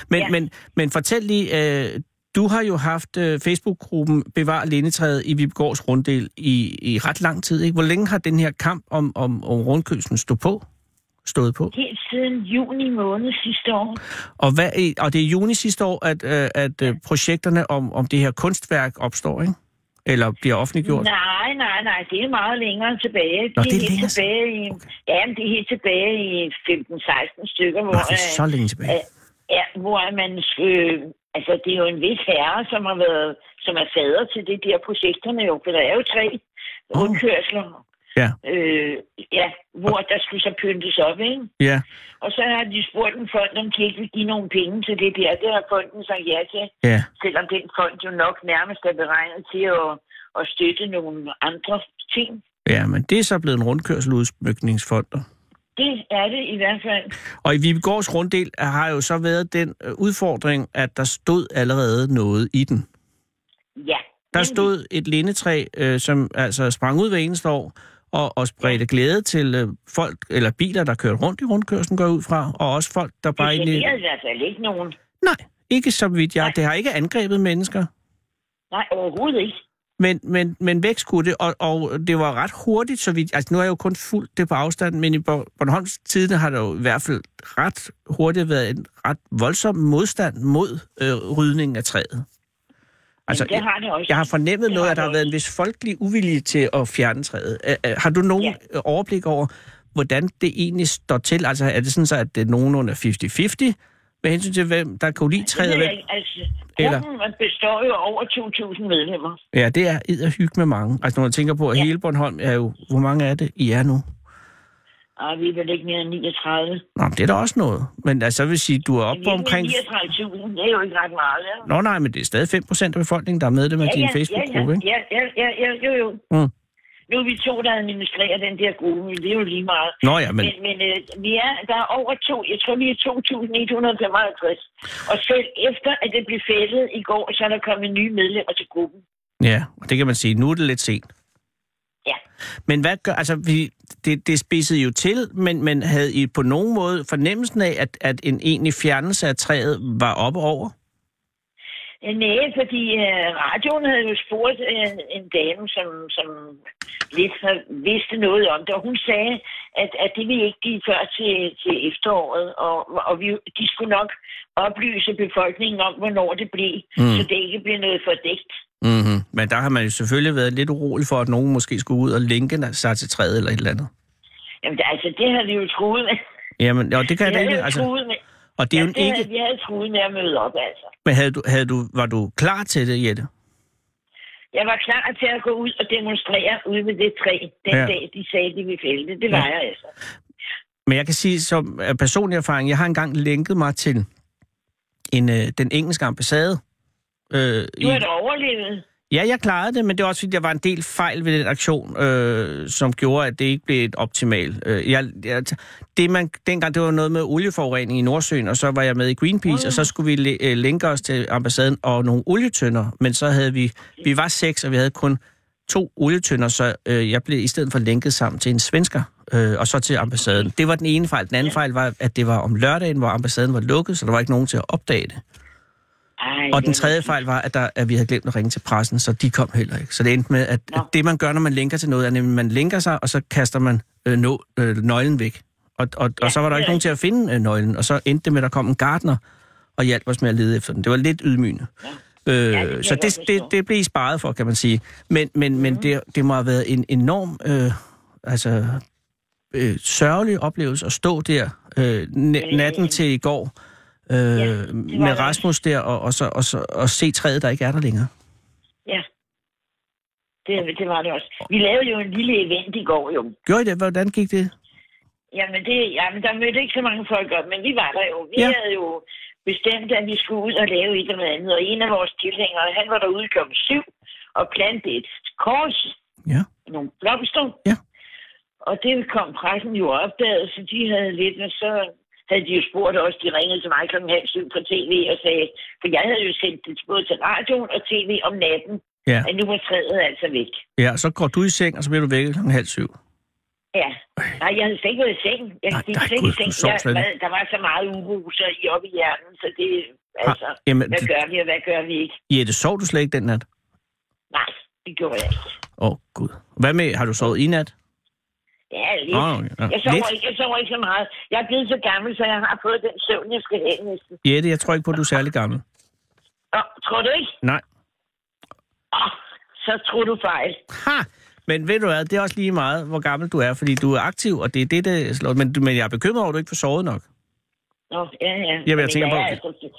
Men, ja.
Ja.
men, men fortæl lige, øh, du har jo haft øh, Facebook-gruppen Bevar Lindetræet i Vibegårds Runddel i, i ret lang tid. Ikke? Hvor længe har den her kamp om, om, om rundkøbsen stået på? Stået på?
Helt siden juni måned sidste år.
Og, hvad, i- og det er i juni sidste år, at, øh, at øh, projekterne om, om det her kunstværk opstår, ikke? Eller bliver offentliggjort?
Nej, nej, nej, det er meget længere tilbage.
Nå, det er
helt
længere
tilbage i, ja, men det er helt tilbage i 15-16 stykker,
Nå,
hvor,
det er så længe tilbage.
øh, ja, hvor man øh, altså det er jo en vis herre, som har været, som er fader til det der projekterne jo, for der er jo tre rundkørsler.
Ja.
Øh, ja, hvor der skulle så pyntes op, ikke?
Ja,
Og så har de spurgt en fond, om de ikke vil give nogle penge til det der. Det har fonden sagt ja til,
ja.
selvom den fond jo nok nærmest er beregnet til at, at støtte nogle andre ting.
Ja, men det er så blevet en rundkørsel udsmykningsfonder.
Det er det i hvert fald.
Og i Vibegårds runddel har jo så været den øh, udfordring, at der stod allerede noget i den.
Ja.
Der
Men-
stod et lindetræ, øh, som altså sprang ud hver eneste år og, og spredte glæde til øh, folk, eller biler, der kørte rundt i rundkørslen, går jeg ud fra, og også folk, der bare
Det
egentlig...
generede i hvert fald ikke nogen.
Nej, ikke så vidt jeg.
Nej.
Det har ikke angrebet mennesker.
Nej, overhovedet ikke.
Men, men, men væk skulle det, og, og det var ret hurtigt, så vidt... Altså, nu har jeg jo kun fulgt det på afstand, men i Bor- Bornholms tiden har der jo i hvert fald ret hurtigt været en ret voldsom modstand mod øh, rydningen af træet. Altså,
det har det også.
jeg har fornemmet
Det
noget,
har
at der
det
har været en
også.
vis folkelig uvilje til at fjerne træet. Øh, øh, Har du nogen ja. overblik over, hvordan det egentlig står til? Altså, er det sådan så, at det er nogenlunde er 50-50 med hensyn til, hvem der kunne lide
Det
træet? og
ved
Hvem...
jeg ikke. Altså,
Eller-
gruppen består jo af over 2.000 medlemmer.
Ja, det er ed hygge med mange. Altså, når man tænker på, at ja.
Ja.
hele Bornholm er jo... Hvor mange er det, I er nu?
Og Ah, vi er vel ikke mere end 39.
Nå, men det er da også noget. Men altså, jeg vil sige, du er oppe
Men
på
vi er
omkring...
39.000, det er jo ikke ret meget. Ja.
Nå nej, men det er stadig 5% af befolkningen, der er medlem af din Facebook-gruppe, ikke?
ja, ja, ja, ja, jo, jo.
Mm.
Nu er vi to, der administrerer den der gruppe, men det er jo lige meget.
Nå ja, men...
Men, men øh, vi er, der er over to, jeg tror, vi er 2.155. Og selv efter, at det blev fældet i går, så er der kommet nye medlemmer til gruppen.
Ja, og det kan man sige. Nu er det lidt sent.
Ja.
Men hvad gør... Altså, vi, det, det spidsede jo til, men, men havde I på nogen måde fornemmelsen af, at, at en egentlig fjernelse af træet var oppe over?
Øh, Nej, fordi øh, radioen havde jo spurgt øh, en dame, som, som lidt har- vidste noget om det, og hun sagde, at, at det ville ikke give før til, til efteråret, og, og vi, de skulle nok oplyse befolkningen om, hvornår det blev, mm. så det ikke blev noget fordækt.
Mm-hmm. Men der har man jo selvfølgelig været lidt urolig for, at nogen måske skulle ud og linke sig til træet eller et eller andet.
Jamen, det- altså, det havde vi jo troet med.
Jamen, og det kan jeg
Vi
da
havde
ikke...
jo
Altså,
troet med.
og det er jo
ja, det
ikke...
havde, vi havde troet med at møde op, altså.
Men havde du, havde du, var du klar til det, Jette?
Jeg var klar til at gå ud og demonstrere ude ved det træ, den
Ja.
ja. dag, de sagde, de ville fælde det. Det var
Ja.
ja. jeg altså.
Men jeg kan sige som øh, personlig erfaring, jeg har engang lænket mig til en, øh, den engelske ambassade. Øh,
Du har da overlevet.
Ja, jeg klarede det, men det var også fordi, der var en del fejl ved den aktion, øh, som gjorde, at det ikke blev et optimal. Øh, jeg, jeg, det man, dengang, det var noget med olieforurening i Nordsøen, og så var jeg med i Greenpeace, og så skulle vi læ- øh, linke os til ambassaden og nogle olietønder, men så havde vi, vi var seks, og vi havde kun to olietønder, så øh, jeg blev i stedet for linket sammen til en svensker, øh, og så til ambassaden. Det var den ene fejl. Den anden fejl var, at det var om lørdagen, hvor ambassaden var lukket, så der var ikke nogen til at opdage det.
Ej,
Og den
det
tredje
var-
fejl var, at, der, at vi havde glemt at ringe til pressen, så de kom heller ikke. Så det endte med, at
Nå.
at det man gør, når man linker til noget, er nemlig, at man linker sig, og så kaster man øh, nå, øh, nøglen væk. Og, og, ja, og så var der
det
ikke
er
nogen til at finde øh, nøglen, og så endte det med, at der kom en gartner og hjalp os med at lede efter den. Det var lidt ydmygende. Ja. Øh,
kan jeg
så det,
godt
det,
forstå. Mhm.
det blev I sparet for, kan man sige. Men, men, men det, det må have været en enorm øh, altså, øh, sørgelig oplevelse at stå der øh, na- natten til i går øh,
det
med
det.
Rasmus der, og, og, så, og, så, og se træet, der ikke er der længere.
Ja. Det, det var det også. Vi lavede jo en lille event i går, jo.
Gjorde I det? Hvordan gik det?
Jamen, det, jamen der mødte ikke så mange folk op, men vi var der jo. Vi
Ja.
ja. havde jo bestemt, at vi skulle ud og lave et eller andet. Og en af vores tilhængere, han var derude klokken syv og plantede et kors,
Ja.
nogle blomster.
Ja.
Og det kom pressen jo og opdagede, så de havde lidt, og så havde de jo spurgt os, de ringede til mig kl. halv syv på tv og sagde, for jeg havde jo sendt det både til radioen og tv om natten,
Ja.
at nu var træet altså væk.
ja, så går du i seng, og så bliver du vækket klokken halv syv.
Ja. Nej, jeg havde slet ikke været i seng. Jeg
Nej,
gik
nej,
slet
Gud,
ikke i seng.
du sov
Jeg,
slet ikke.
hvad, der var så meget uro så i op i hjernen, så det, altså,
Ah, jamen,
hvad
det-
gør vi, og hvad gør vi ikke?
Jette, sov du slet ikke den nat?
Nej, det gjorde jeg ikke.
Åh, oh, gud. Hvad med, har du sovet i nat?
Ja, lidt.
Nå, okay. Ja,
jeg, sover
lidt.
Ikke, jeg sover ikke så meget. Jeg er blevet så gammel, så jeg har fået den søvn, jeg skal have næsten.
Jette, jeg tror ikke på, at du er særlig gammel.
Nå, tror du ikke?
Nej.
Åh, så tror du fejl.
Ha! Men ved du hvad, det er også lige meget, hvor gammel du er, fordi du er aktiv, og det er det, der slår. Men, men jeg er bekymret over, at du ikke får sovet nok.
Nå, ja, ja.
jeg tænker
jeg
på-
Er altså,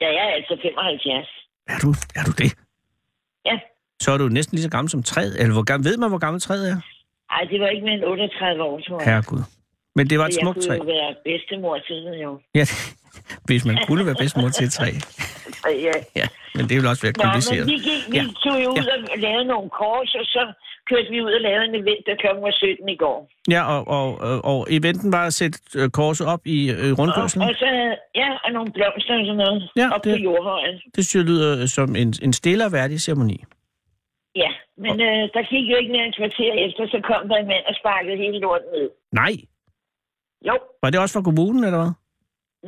jeg er altså 75.
Er du, er du det?
Ja.
Så er du næsten lige så gammel som træet. Eller hvor gammel, ved man, hvor gammel træet er?
Ej, det var ikke mere end 38 år, tror jeg.
Herregud. Men det var et
Så
smukt
Jeg
træ.
kunne jo være bedstemor siden jo.
Ja, hvis man kunne være bedstemor til et træ.
Og Ja.
Ja, men det vil også være
Nå, men
kompliceret.
vi, gik, vi
Ja.
tog jo ud og lavede nogle kors, og så kørte vi ud og lavede en event, der klokken var 17 i går.
Ja, og, og, og, og eventen var at sætte øh, korset op i øh,
Og,
rundkørslen.
og så, ja, og nogle blomster og sådan noget.
Ja,
op
det-
på jordhøjen.
Det synes jeg lyder øh, som en, en stille og værdig ceremoni.
Ja, men øh, der gik jo ikke mere end et kvarter efter, så kom der en mand og sparkede hele lorten ned.
Nej,
Jo,
var det også fra kommunen, eller hvad?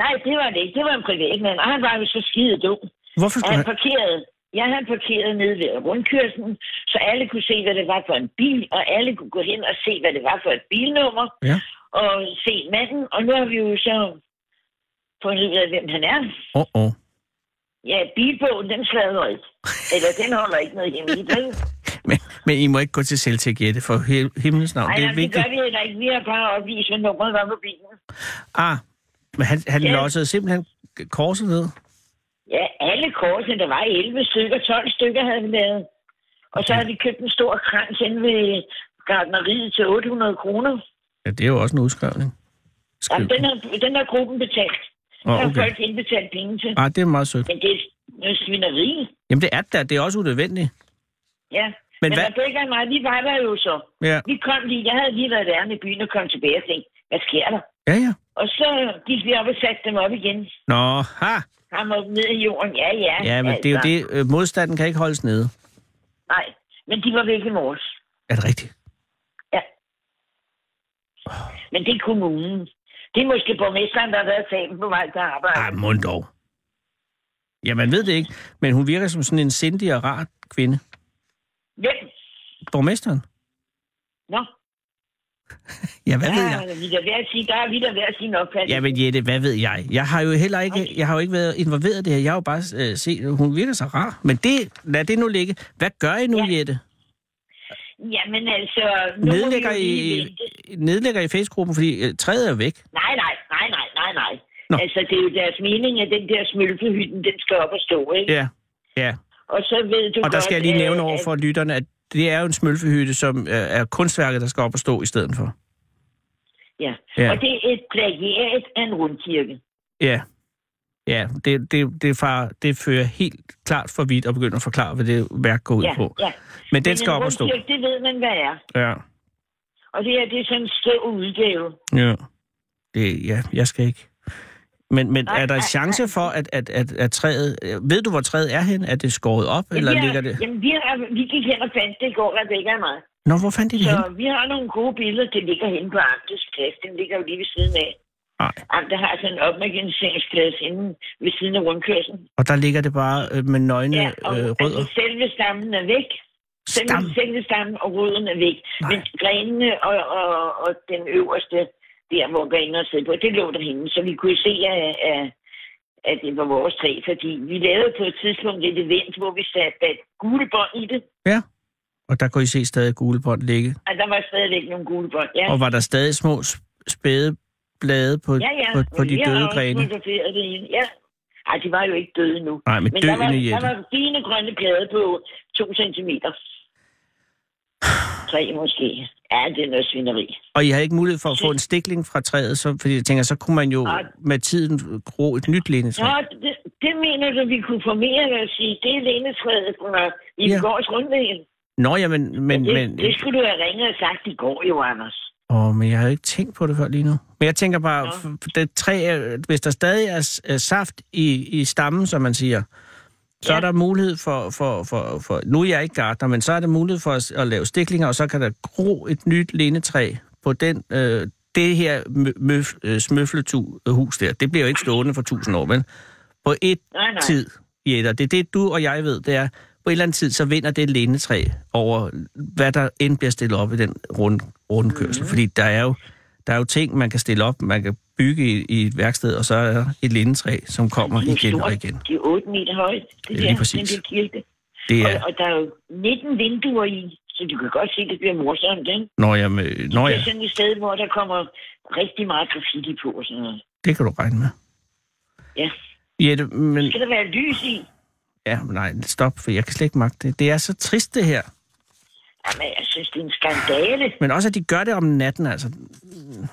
nej, det var det ikke. Det var en privatmand, og han var jo så skide dum.
Hvorfor
Og
skulle
han
han...
parkerede. Jeg havde parkeret nede ved rundkørslen, så alle kunne se, hvad det var for en bil, og alle kunne gå hen og se, hvad det var for et bilnummer,
Ja.
og se manden. Og nu har vi jo så fundet ud af, hvem han er.
Åh, oh, oh.
Ja, bilbogen, den slader ikke. Eller den holder ikke noget hemmeligt. vel?
men, men I må ikke gå til selvtægt, Jette, for hel- himlens navn.
Ej,
det
det,
er
det
vigtigt.
gør vi heller ikke. Vi har bare opvist, hvad nummeret var på bilen.
Ah, men han, han
Ja.
lossede simpelthen korset ned.
Ja, alle korsene, der var 11 stykker, 12 stykker havde vi lavet. Og så havde vi købt en stor krans inde ved gardneriet til 800 kroner.
Ja, det er jo også en udskrivning.
Ja,
Skriv.
den har, den har gruppen betalt.
Åh,
Oh, okay. har
okay.
folk indbetalt penge til.
Ah, det er meget sødt.
Men det er noget svineri.
Jamen, det er det da. Det er også unødvendigt.
Ja.
Men
Men, Men
hvad-
Rebecca og mig, vi var der jo så.
Ja,
Vi kom lige, jeg havde lige været værende i byen og kom tilbage og tænkte, hvad sker der?
ja. ja.
Og så gik vi op og satte dem op igen.
Nå, ha!
Ham op ned i jorden, ja, ja. Altså,
Ja, men det er jo det. øh, Modstanden kan ikke holdes nede.
Nej, men de var væk i morges.
Er det rigtigt?
Ja. Men det er kommunen. Det er måske borgmesteren, der har været sammen på vej til arbejde.
Ah, mund dog. Ja, man ved det ikke, men hun virker som sådan en sindig og rar kvinde.
Hvem?
Borgmesteren?
Nå,
Ja, hvad
der
ved jeg?
er vi da ved at sige, der er vi da ved at sige nok.
Ja, men Jette, hvad ved jeg? Jeg har jo heller ikke, jeg har jo ikke været involveret i det her. Jeg har jo bare øh, set, hun virker så rar. Men det, lad det nu ligge. Hvad gør I nu, ja.
Ja.
Jette?
Jamen altså... Nu må vi
Nedlægger
jo
I,
lige vente.
nedlægger I Facebook-gruppen, fordi øh, træet er væk?
Nej, nej, nej, nej, nej, nej.
Nå.
Nå. Altså, det er jo deres mening, at den der smølpehytten, den skal op og stå, ikke? Ja.
Ja. Ja,
Og så ved du
og der
godt,
skal jeg lige
øh,
nævne over
at-
for lytterne, at det er jo en smølfehytte, som øh, er kunstværket, der skal op og stå i stedet for.
Ja.
Ja.
ja. Og det er et plagiat af en rundkirke.
Ja. Ja, det, det, det, far, det fører helt klart for vidt at begynde at forklare, hvad det værk går ud
Ja,
på.
ja.
Men den
Men
skal
en
op og stå.
rundkirke, Det ved man, hvad er.
Ja.
Og det her, det er sådan en skæv udgave.
Ja. Det, ja, jeg skal ikke. Men, men
Nej,
er der en
nej,
chance for, at, at, at, at træet... Ved du, hvor træet er hen? Er det skåret op,
Ja,
eller
vi har,
ligger det...
Jamen, vi, har, vi gik hen og fandt det i går, Rebecca og mig.
Nå, hvor fandt I det
Så
hen?
vi har nogle gode billeder, det ligger henne på Amtes Plads. Den ligger jo lige ved siden af.
Nej.
Amtet har sådan en opmærkningsplads inde ved siden af rundkørslen.
Og der ligger det bare øh, med nøgne
Ja, og
øh, rødder.
altså, selve stammen er væk. Selve,
Stam.
selve stammen og roden er væk.
Nej.
Nej. Men grenene og, og, og den øverste, der hvor grenene sidder på, det lå derhenne. Så vi kunne se, at, at- at det var vores træ, fordi vi lavede på et tidspunkt et event, hvor vi satte et gule bånd i det,
Og der kunne I se stadig gule bånd ligge.
og der var stadigvæk nogle gule bånd. Ja,
Og var der stadig små s- spæde blade på,
ja, ja.
på, på
Men
de
vi har
døde
også
grene?
fotograferet det ene. Ja. Ej, de var jo ikke døde nu.
Nej, men,
Men der var,
døende,
der
Jette.
var fine grønne plader på to centimeter. Tre måske. Ja, det er noget svineri.
Og I har ikke mulighed for at få en stikling fra træet, så, fordi jeg tænker, så kunne man jo
Nej.
med tiden gro et nyt
Nå,
lindetræ.
det, det mener du, vi kunne formere ved at sige, det er lindetræet fra i
Ja.
ja. gårds rundvægen.
Nå, ja, men... men,
det,
men
det skulle du have ringet og sagt i går jo, Anders.
Åh, men jeg havde ikke tænkt på det før lige nu. Men jeg tænker bare,
Nå.
f- det træ, er- hvis der stadig er s- er saft i, i stammen, som man siger, så
Ja.
er der mulighed for, for, for, for, nu er jeg ikke gartner, men så er der mulighed for at, s- at lave stiklinger, og så kan der gro et nyt lindetræ på den, øh, det her mø- møf, øh, smøfletu-hus der. Det bliver jo ikke stående for tusind år, men på et
Nej, nej.
tid, Jætter, det er det, du og jeg ved, det er, på en eller anden tid, så vinder det lindetræ over, hvad der end bliver stillet op i den rund,
Mhm.
rundkørsel. Mm. Fordi der er, jo, der er jo ting, man kan stille op, man kan bygge i, i et værksted, og så er der et lindetræ, som kommer
Det er
igen og
stort.
igen.
Det er 8 meter højt,
Ja,
det, det
lige
der, den
præcis.
der kirke.
Det
Ja.
er,
Og, og der er jo 19 vinduer i, så du kan godt se, det bliver morsomt, ikke?
når jeg, med- når
Det
jeg,
er sådan et sted, hvor der kommer rigtig meget graffiti på og sådan noget.
det kan du regne med.
Ja.
Jette, men,
Skal der være lys i?
ja, men nej, stop, for jeg kan slet ikke magte det. Det er så trist, det her.
Jamen, jeg synes, det er en skandale.
Men også, at de gør det om natten, altså.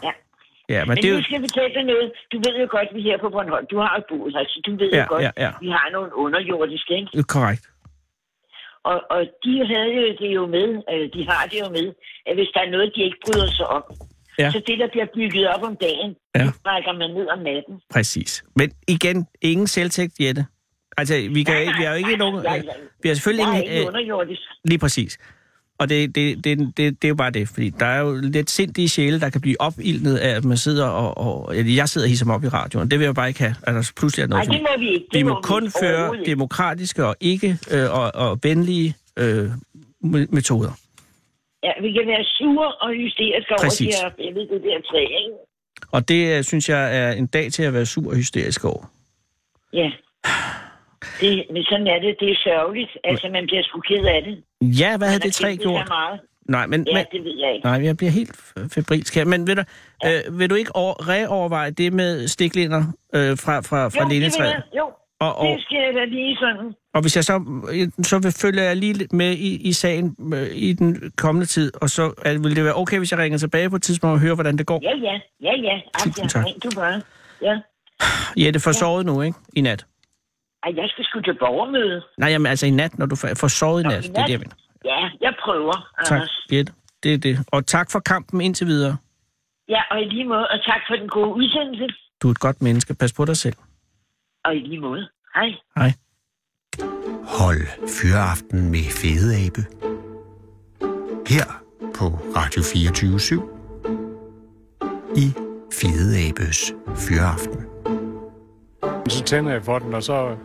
Ja.
Ja, men
Men
det er
nu
jo...
skal jeg fortælle dig noget. Du ved jo godt, at vi her på Bornholm, du har jo boet her, så du ved
Ja,
jo godt,
ja, ja.
vi har nogle underjordiske, ikke?
Korrekt.
Og, og de havde jo det jo med, øh, de har det jo med, at hvis der er noget, de ikke bryder sig om,
Ja.
ja. så det, der bliver bygget op om dagen,
Ja.
ja. det rækker man ned om natten.
Præcis. Men igen, ingen selvtægt, Jette. Altså, vi, kan,
Nej,
ikke- vi har jo ikke
nej,
nogen...
nej,
øh,
nej.
Vi har
Jeg er
selvfølgelig
ikke
ingen... øh,
underjordisk.
Lige præcis. Og det, det, det, det, det er jo bare det, fordi der er jo lidt sindige sjæle, der kan blive opildnet af, at man sidder og... og eller jeg sidder og hisser mig op i radioen. Det vil jeg bare ikke have. Altså, pludselig er der
Nej,
noget for mig.
det må vi ikke. Det
Vi må
vi
kun føre
overhovedet ikke.
demokratiske og ikke øh, og, og venlige øh, me- metoder.
Ja, vi kan være sure og hysteriske over
Præcis.
det her, jeg ved, det der træ, ikke?
Og det, øh, synes jeg, er en dag til at være sur og hysterisk over.
Ja. Det, men sådan er det. Det er sørgeligt. Altså, man bliver sgu ked af det.
Ja, hvad havde
Man
det
har
tre
kæmpet så
gjort?
Meget.
Nej, men,
Ja,
men,
det ved jeg ikke.
Nej, jeg bliver helt f- febrilsk her. Men vil du, øh, vil du ikke over, reoverveje det med stiklinder øh, fra, fra, fra
jo, det, vil
lindetræet?
jeg. jo.
Og, og,
det skal jeg da lige sådan.
og hvis jeg så, øh, så vil, følger jeg lige lidt med i, i sagen øh, i den kommende tid, og så at, vil det være okay, hvis jeg ringer tilbage på et tidspunkt og hører, hvordan det går?
Ja, ja. Ja, ja. Ach,
Tusind
ja,
tak.
ring Du bare. Ja.
Ja. Jette, for sovet nu, ikke? I nat.
Ej, jeg skal sgu til borgermøde.
Nej, jamen altså i nat, når du får får sovet i
Nå,
nat. Det
i
er det,
nat.
jeg mener.
Ja, jeg prøver,
Tak,
Anders.
Jette. Det er det. Og tak for kampen indtil videre.
Ja, og i lige måde. Og tak for den gode udsendelse.
Du er et godt menneske. Pas på dig selv.
Og i lige måde. Hej.
Hej.
Hold Fyraften med Fede Abe. Her på Radio 24 i Fede Abes Fyraften.
Så tænder jeg for den, og så,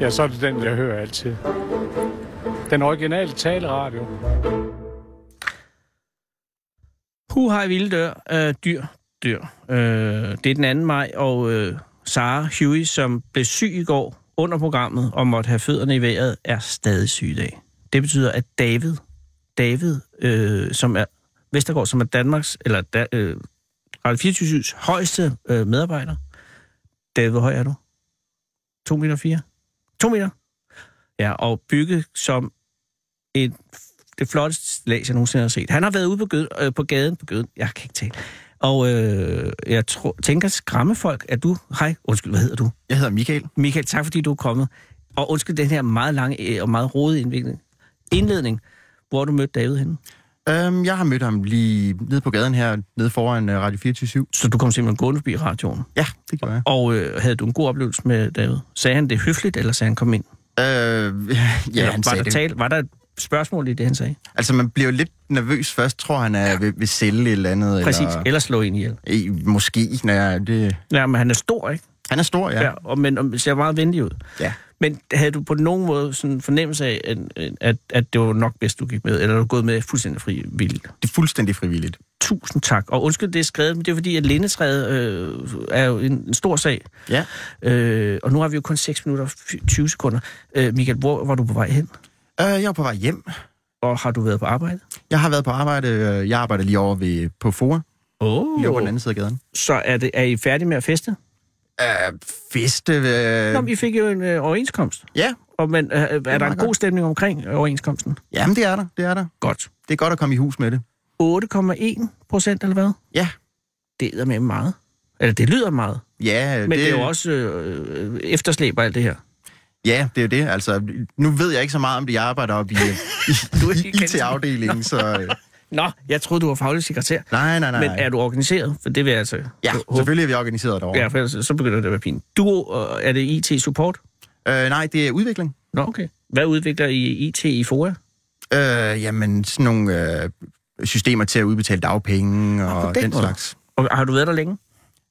ja, så er det den, jeg hører altid. Den originale taleradio.
Hu har vilde dør, øh, dyr, dyr. Øh, det er den 2. maj, og øh, Sara Huey, som blev syg i går under programmet og måtte have fødderne i vejret, er stadig syg i dag. Det betyder, at David, David, øh, som er Vestergaard, som er Danmarks, eller da, øh, Radio 24's højeste øh, medarbejder. David, hvor høj er du? 2 meter 4? 2 meter? Ja, og bygget som en det flotteste stillads, jeg nogensinde har set. Han har været ude på, gød, øh, på gaden på gøden. Jeg kan ikke tale. Og øh, jeg tror, tænker skræmme folk, at du... Hej, undskyld, hvad hedder du?
Jeg hedder Michael.
Michael, tak fordi du er kommet. Og undskyld den her meget lange øh, og meget rodede indvikling. indledning. Hvor har du mødte David henne?
Øhm, jeg har mødt ham lige nede på gaden her, nede foran øh, Radio 24
Så du kom simpelthen gående forbi radioen.
Ja, det gjorde jeg.
Og øh, havde du en god oplevelse med David? Sagde han det høfligt, eller sagde han kom ind?
Øh, ja,
Eller
han
var,
sagde
der
det.
tale, var der et spørgsmål i det, han sagde?
Altså, man bliver jo lidt nervøs først, tror han er ved, ved sælge et eller andet.
Præcis.
Eller,
Eller slå ind ihjel.
eh, måske. Nej, det,
Ja, men han er stor, ikke?
han er stor, ja.
Ja, og, men og ser meget venlig ud.
Ja.
Men havde du på nogen måde sådan en fornemmelse af, at, at, at det var nok bedst, du gik med, eller er du gået med fuldstændig fri vilje?
Det er fuldstændig frivilligt.
Tusind tak. Og undskyld, det er skrevet, men det er fordi, at lindetræet øh, er jo en, en stor sag.
Ja.
Øh, og nu har vi jo kun 6 minutter og fy- 20 sekunder. Øh, Michael, hvor var du på vej hen?
Øh, jeg er på vej hjem.
Og har du været på arbejde?
Jeg har været på arbejde. øh, Jeg arbejder lige over ved, på FOA,
Åh.
lige over på den anden side af gaden.
Så er, det, er I færdige med at feste?
Øh, feste... Øh,
Øh. Nå, men I fik jo en øh, overenskomst.
ja,
Og, men øh, er der en
meget
god
godt.
stemning omkring øh, overenskomsten?
jamen det er der, det er der.
Godt.
Det er godt at komme i hus med det.
8,1 procent, eller hvad?
Ja,
det er med meget. Eller det lyder meget,
ja.
men det, det er jo også øh, øh, efterslæber alt det her.
Ja, det er jo det. Altså, nu ved jeg ikke så meget om det. Jeg arbejder op i, i, i
ikke kendt.
IT-afdelingen, så øh,
Nå, jeg troede, du var faglig sekretær.
Nej, nej, nej.
Men er du organiseret? For det vil jeg altså...
Ja,
håbe.
selvfølgelig er vi organiseret derovre.
Ja, for ellers, så begynder det at være pin. Du, øh, er det IT-support?
Øh, nej, det er udvikling.
Nå, okay. Hvad udvikler I IT i FOA?
Øh, jamen, sådan nogle øh, systemer til at udbetale dagpenge og
på den
den, den
måde.
slags.
Og har du været der længe?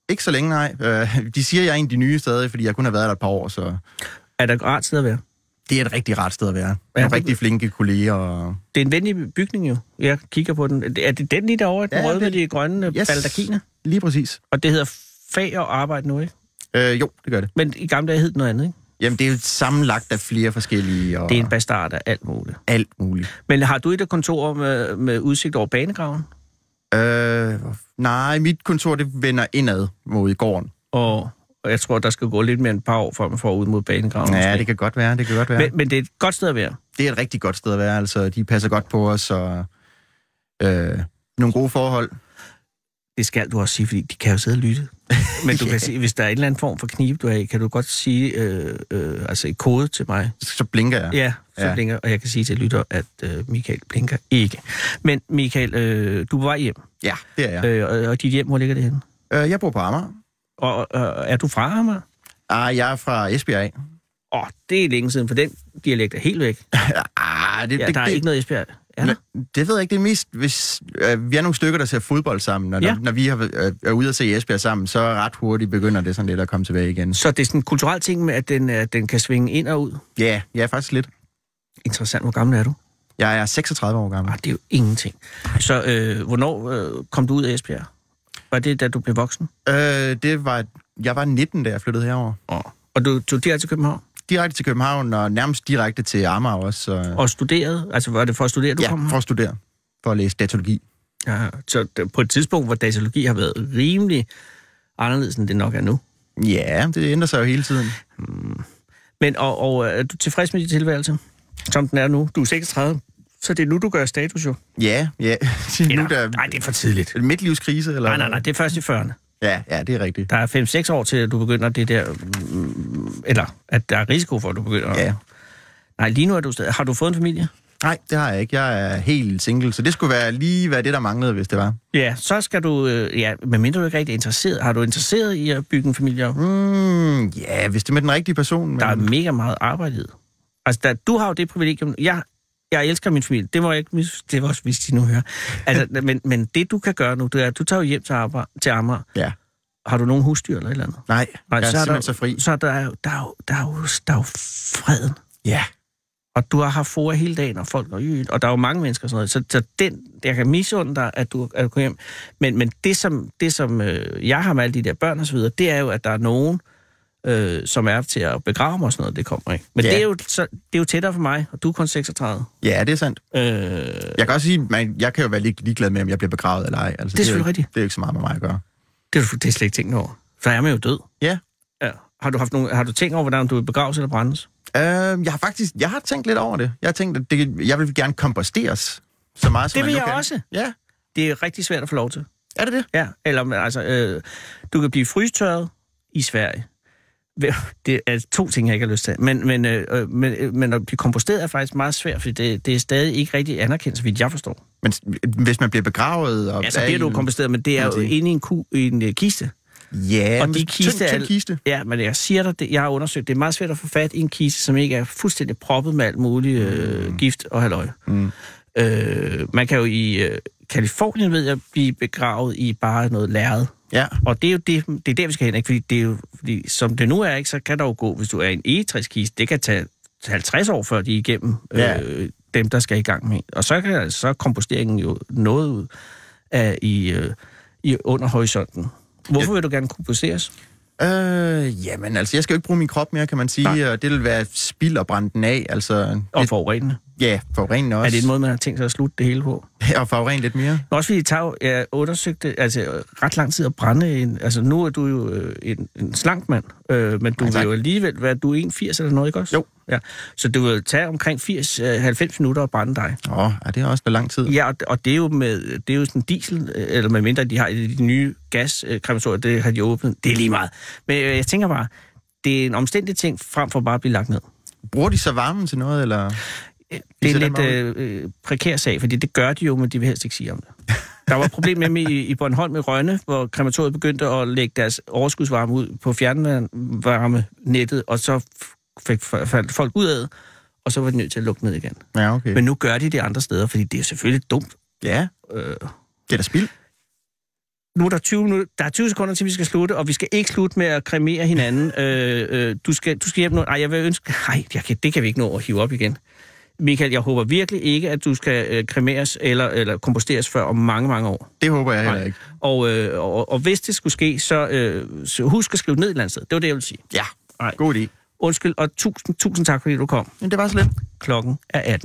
Ikke så længe, nej. Øh, de siger, jeg er en af de nye stadig, fordi jeg kun har været der et par år, så
Er der et rart sted at være?
det er et rigtig rart sted at være.
Ja,
Nogle
det-
rigtig flinke kolleger. Og...
Det er en venlig bygning jo. Jeg kigger på den. Er det den lige derovre? Den
Ja,
ja, røde med
det-
de grønne yes. baldakiner?
Lige præcis.
Og det hedder fag og arbejde nu, ikke?
Øh, jo, det gør det.
Men i gamle dage hed det noget andet, ikke?
Jamen, det er jo sammenlagt af flere forskellige og
Det er en bastard af alt muligt.
alt muligt.
Men har du et af kontorer med, med udsigt over banegraven?
Øh, hvor- nej, mit kontor, det vender indad mod i gården.
Og, og jeg tror, der skal gå lidt mere end et par år, før man får ud mod banegraven.
Ja,
måske.
det kan godt være, det kan godt være.
men, men det er et godt sted at være.
det er et rigtig godt sted at være. Altså, de passer godt på os, og øh, nogle gode forhold.
Det skal du også sige, fordi de kan jo sidde og lytte. Men du kan sige, hvis der er en eller anden form for knibe, du har i, kan du godt sige øh, øh, altså et kode til mig.
Så blinker jeg.
Ja, så ja.
Ja.
blinker, og jeg kan sige til lytter, at øh, Michael blinker ikke. Men Michael, øh, du er på vej hjem,
ja det er jeg.
øh, og, og dit hjem, hvor ligger det henne?
Øh, jeg bor på Amager.
Og øh, er du fra Amager?
Ah, jeg er fra Esbjerg. af.
Åh, det er længe siden, for den dialekt er helt væk.
Ah, det,
Ja,
det,
der er
det,
ikke noget Esbjerg. Er der?
det ved jeg ikke. Det er mest, hvis øh, vi er nogle stykker, der ser fodbold sammen. Og når,
Ja.
ja. når vi har, øh, er ude at se Esbjerg sammen, så ret hurtigt begynder det sådan lidt at komme tilbage igen.
Så det er sådan en kulturel ting med, at den, øh, den kan svinge ind og ud.
Ja, ja, faktisk lidt.
Interessant, hvor gammel er du?
Jeg er 36 år gammel.
Ah, det er jo ingenting. Så øh, hvornår øh, kom du ud af Esbjerg? Var det, da du blev voksen?
Øh, det var, jeg var 19, da jeg flyttede herover.
Oh. Og du tog direkte til København
Direkte til København, og nærmest direkte til Amager også. Så, og
og studerede? Altså, var det for at studere, du
ja,
kom?
for at studere. For at læse datologi.
Ja, så d- på et tidspunkt, hvor datalogi har været rimelig anderledes, end det nok er nu.
Ja, det ændrer sig jo hele tiden.
Men, og, og øh, er du tilfreds med din tilværelse, som den er nu? Du er 36, så det er nu, du gør status jo.
Ja, ja. nu er der
Nej, det er for tidligt.
en midtlivskrise, eller?
Nej, nej, nej, det er først i 40'erne.
Ja, ja, det er rigtigt.
Der er 5-6 år til, at du begynder det der... mm, Eller, at der er risiko for, at du begynder... at-
Ja.
Nej, lige nu er du stadig... Har du fået en familie?
Nej, det har jeg ikke. Jeg er helt single, så det skulle være lige være det, der manglede, hvis det var.
Ja, så skal du... Øh, ja, medmindre du ikke er rigtig er interesseret. Har du interesseret i at bygge en familie? op?
Mm, ja, hvis det er med den rigtige person. Men...
Der er mega meget arbejde i det. Altså, der, du har jo det privilegium... Jeg, jeg elsker min familie. Det må jeg ikke mis... Det var også, hvis de nu hører. Altså, men, men det, du kan gøre nu, det er, at du tager jo hjem til, Amager, til Amager.
Ja.
Har du nogen husdyr eller et eller andet?
Nej, Nej jeg er,
er
simpelthen
der,
så fri.
Så er der, jo- der, er jo, der, er jo, der er jo freden.
Ja.
Og du har haft for hele dagen, og folk og jyet, og der er jo mange mennesker og sådan noget. Så, så den, jeg kan misunde dig, at du, at du kom hjem. Men, men det, som, det, som øh, jeg har med alle de der børn og så videre, det er jo, at der er nogen, øh, som er til at begrave mig og sådan noget, det kommer ikke. Men ja.
Ja.
det, er jo, så, det er jo tættere for mig, og du er kun 36.
Ja, det er sandt.
Øh,
Jeg kan også sige, man, jeg kan jo være lig, ligeglad med, om jeg bliver begravet eller ej. Altså,
Det er
jo
selvfølgelig
ikke-
rigtigt.
Det er jo ikke så meget med mig at gøre.
det, er du- det er slet ikke tænkt over. For er man jo død.
Ja.
ja. Har, du haft nogen, har du tænkt over, hvordan du vil begraves eller brændes?
Øh, jeg har faktisk jeg har tænkt lidt over det. Jeg har tænkt, at det, jeg vil gerne komposteres så meget, som
Det
man
vil
nu
jeg
kan.
også.
Ja,
Det er rigtig svært at få lov til.
er det det?
Ja, eller men altså, øh, du kan blive frystørret i Sverige. Vel, Det er to ting, jeg ikke har lyst til. Men, men, øh, øh, men, øh, men at blive komposteret er faktisk meget svært, fordi det, det er stadig ikke rigtig anerkendt, så vidt jeg forstår.
Men s- hvis man bliver begravet... Og
Ja, så
er
bliver
i
du
en-
komposteret, men det er jo
Kan man sige.
inde i en, ku, i en øh, kiste.
Ja,
Og
men
de
tynd-
kiste er-
tynd kiste.
Ja, men jeg siger dig, det, jeg har undersøgt, det er meget svært at få fat i en kiste, som ikke er fuldstændig proppet med alt muligt øh, gift og halvøje. Mm. Øh, man kan jo i øh, Kalifornien, ved jeg, blive begravet i bare noget lærred.
Ja.
Og det er jo det, det er der, vi skal hen, ikke? Fordi, det er jo, fordi som det nu er, ikke, så kan der jo gå, hvis du er i en egetræskiste, det kan tage 50 år, før de er igennem
Ja.
øh, dem, der skal i gang med. Og så kan så er komposteringen jo noget ud af, i, øh, i under horisonten. Hvorfor vil du gerne komposteres?
Øh, jamen altså, jeg skal jo ikke bruge min krop mere, kan man sige. Nej. Det vil være spild og brænde den af, altså...
Og
lidt-
forurenende?
Ja, forurene også.
Er det en måde, man har tænkt sig at slutte det hele på?
måde? Og forurene lidt mere.
Men Også fordi det tager jo- jeg undersøgte altså, øh, ret lang tid at brænde en... Altså, nu er du jo øh, en, en slank mand, øh, men du
Ja,
vil
tak.
jo alligevel være... Du er 1,80 eller noget, ikke også?
Jo.
Ja. Så det vil tage omkring 80-90 minutter at brænde dig.
Åh, oh, er det er også for lang tid?
Ja, og, og det er jo med det er jo sådan diesel, øh, eller med mindre de har de nye gaskrematorier, det har de åbnet. Det er lige meget. Men øh, jeg tænker bare, det er en omstændig ting, frem for bare at blive lagt ned.
Bruger de så varmen til noget, eller...
det er
Viser
en
den
lidt øh, øh, prekær sag, fordi det gør de jo, men de vil helst ikke sige om det. Der var et problem med dem i, i Bornholm i Rønne, hvor krematoriet begyndte at lægge deres overskudsvarme ud på fjernvarmenettet, og så f- fik, f- faldt folk ud af, det, og så var de nødt til at lukke ned igen.
Ja, okay.
Men nu gør de det andre steder, fordi det er selvfølgelig dumt.
ja,
Øh,
det er da spild.
nu er der 20, minutter, der er 20 sekunder til, vi skal slutte, og vi skal ikke slutte med at kremere hinanden. Øh, øh, du, skal, du skal hjem nu. Ej, jeg vil ønske... Ej, jeg kan, det kan vi ikke nå at hive op igen. Michael, jeg håber virkelig ikke, at du skal øh, kremeres eller, eller komposteres før om mange, mange år.
Det håber jeg heller ikke.
Og, øh, og, og hvis det skulle ske, så, øh, så husk at skrive det ned et eller andet sted. Det var det, jeg ville sige.
Ja,
Nej.
god idé.
Undskyld, og tusind, tusind tak, fordi du kom.
Men det var så lidt.
Klokken er 18.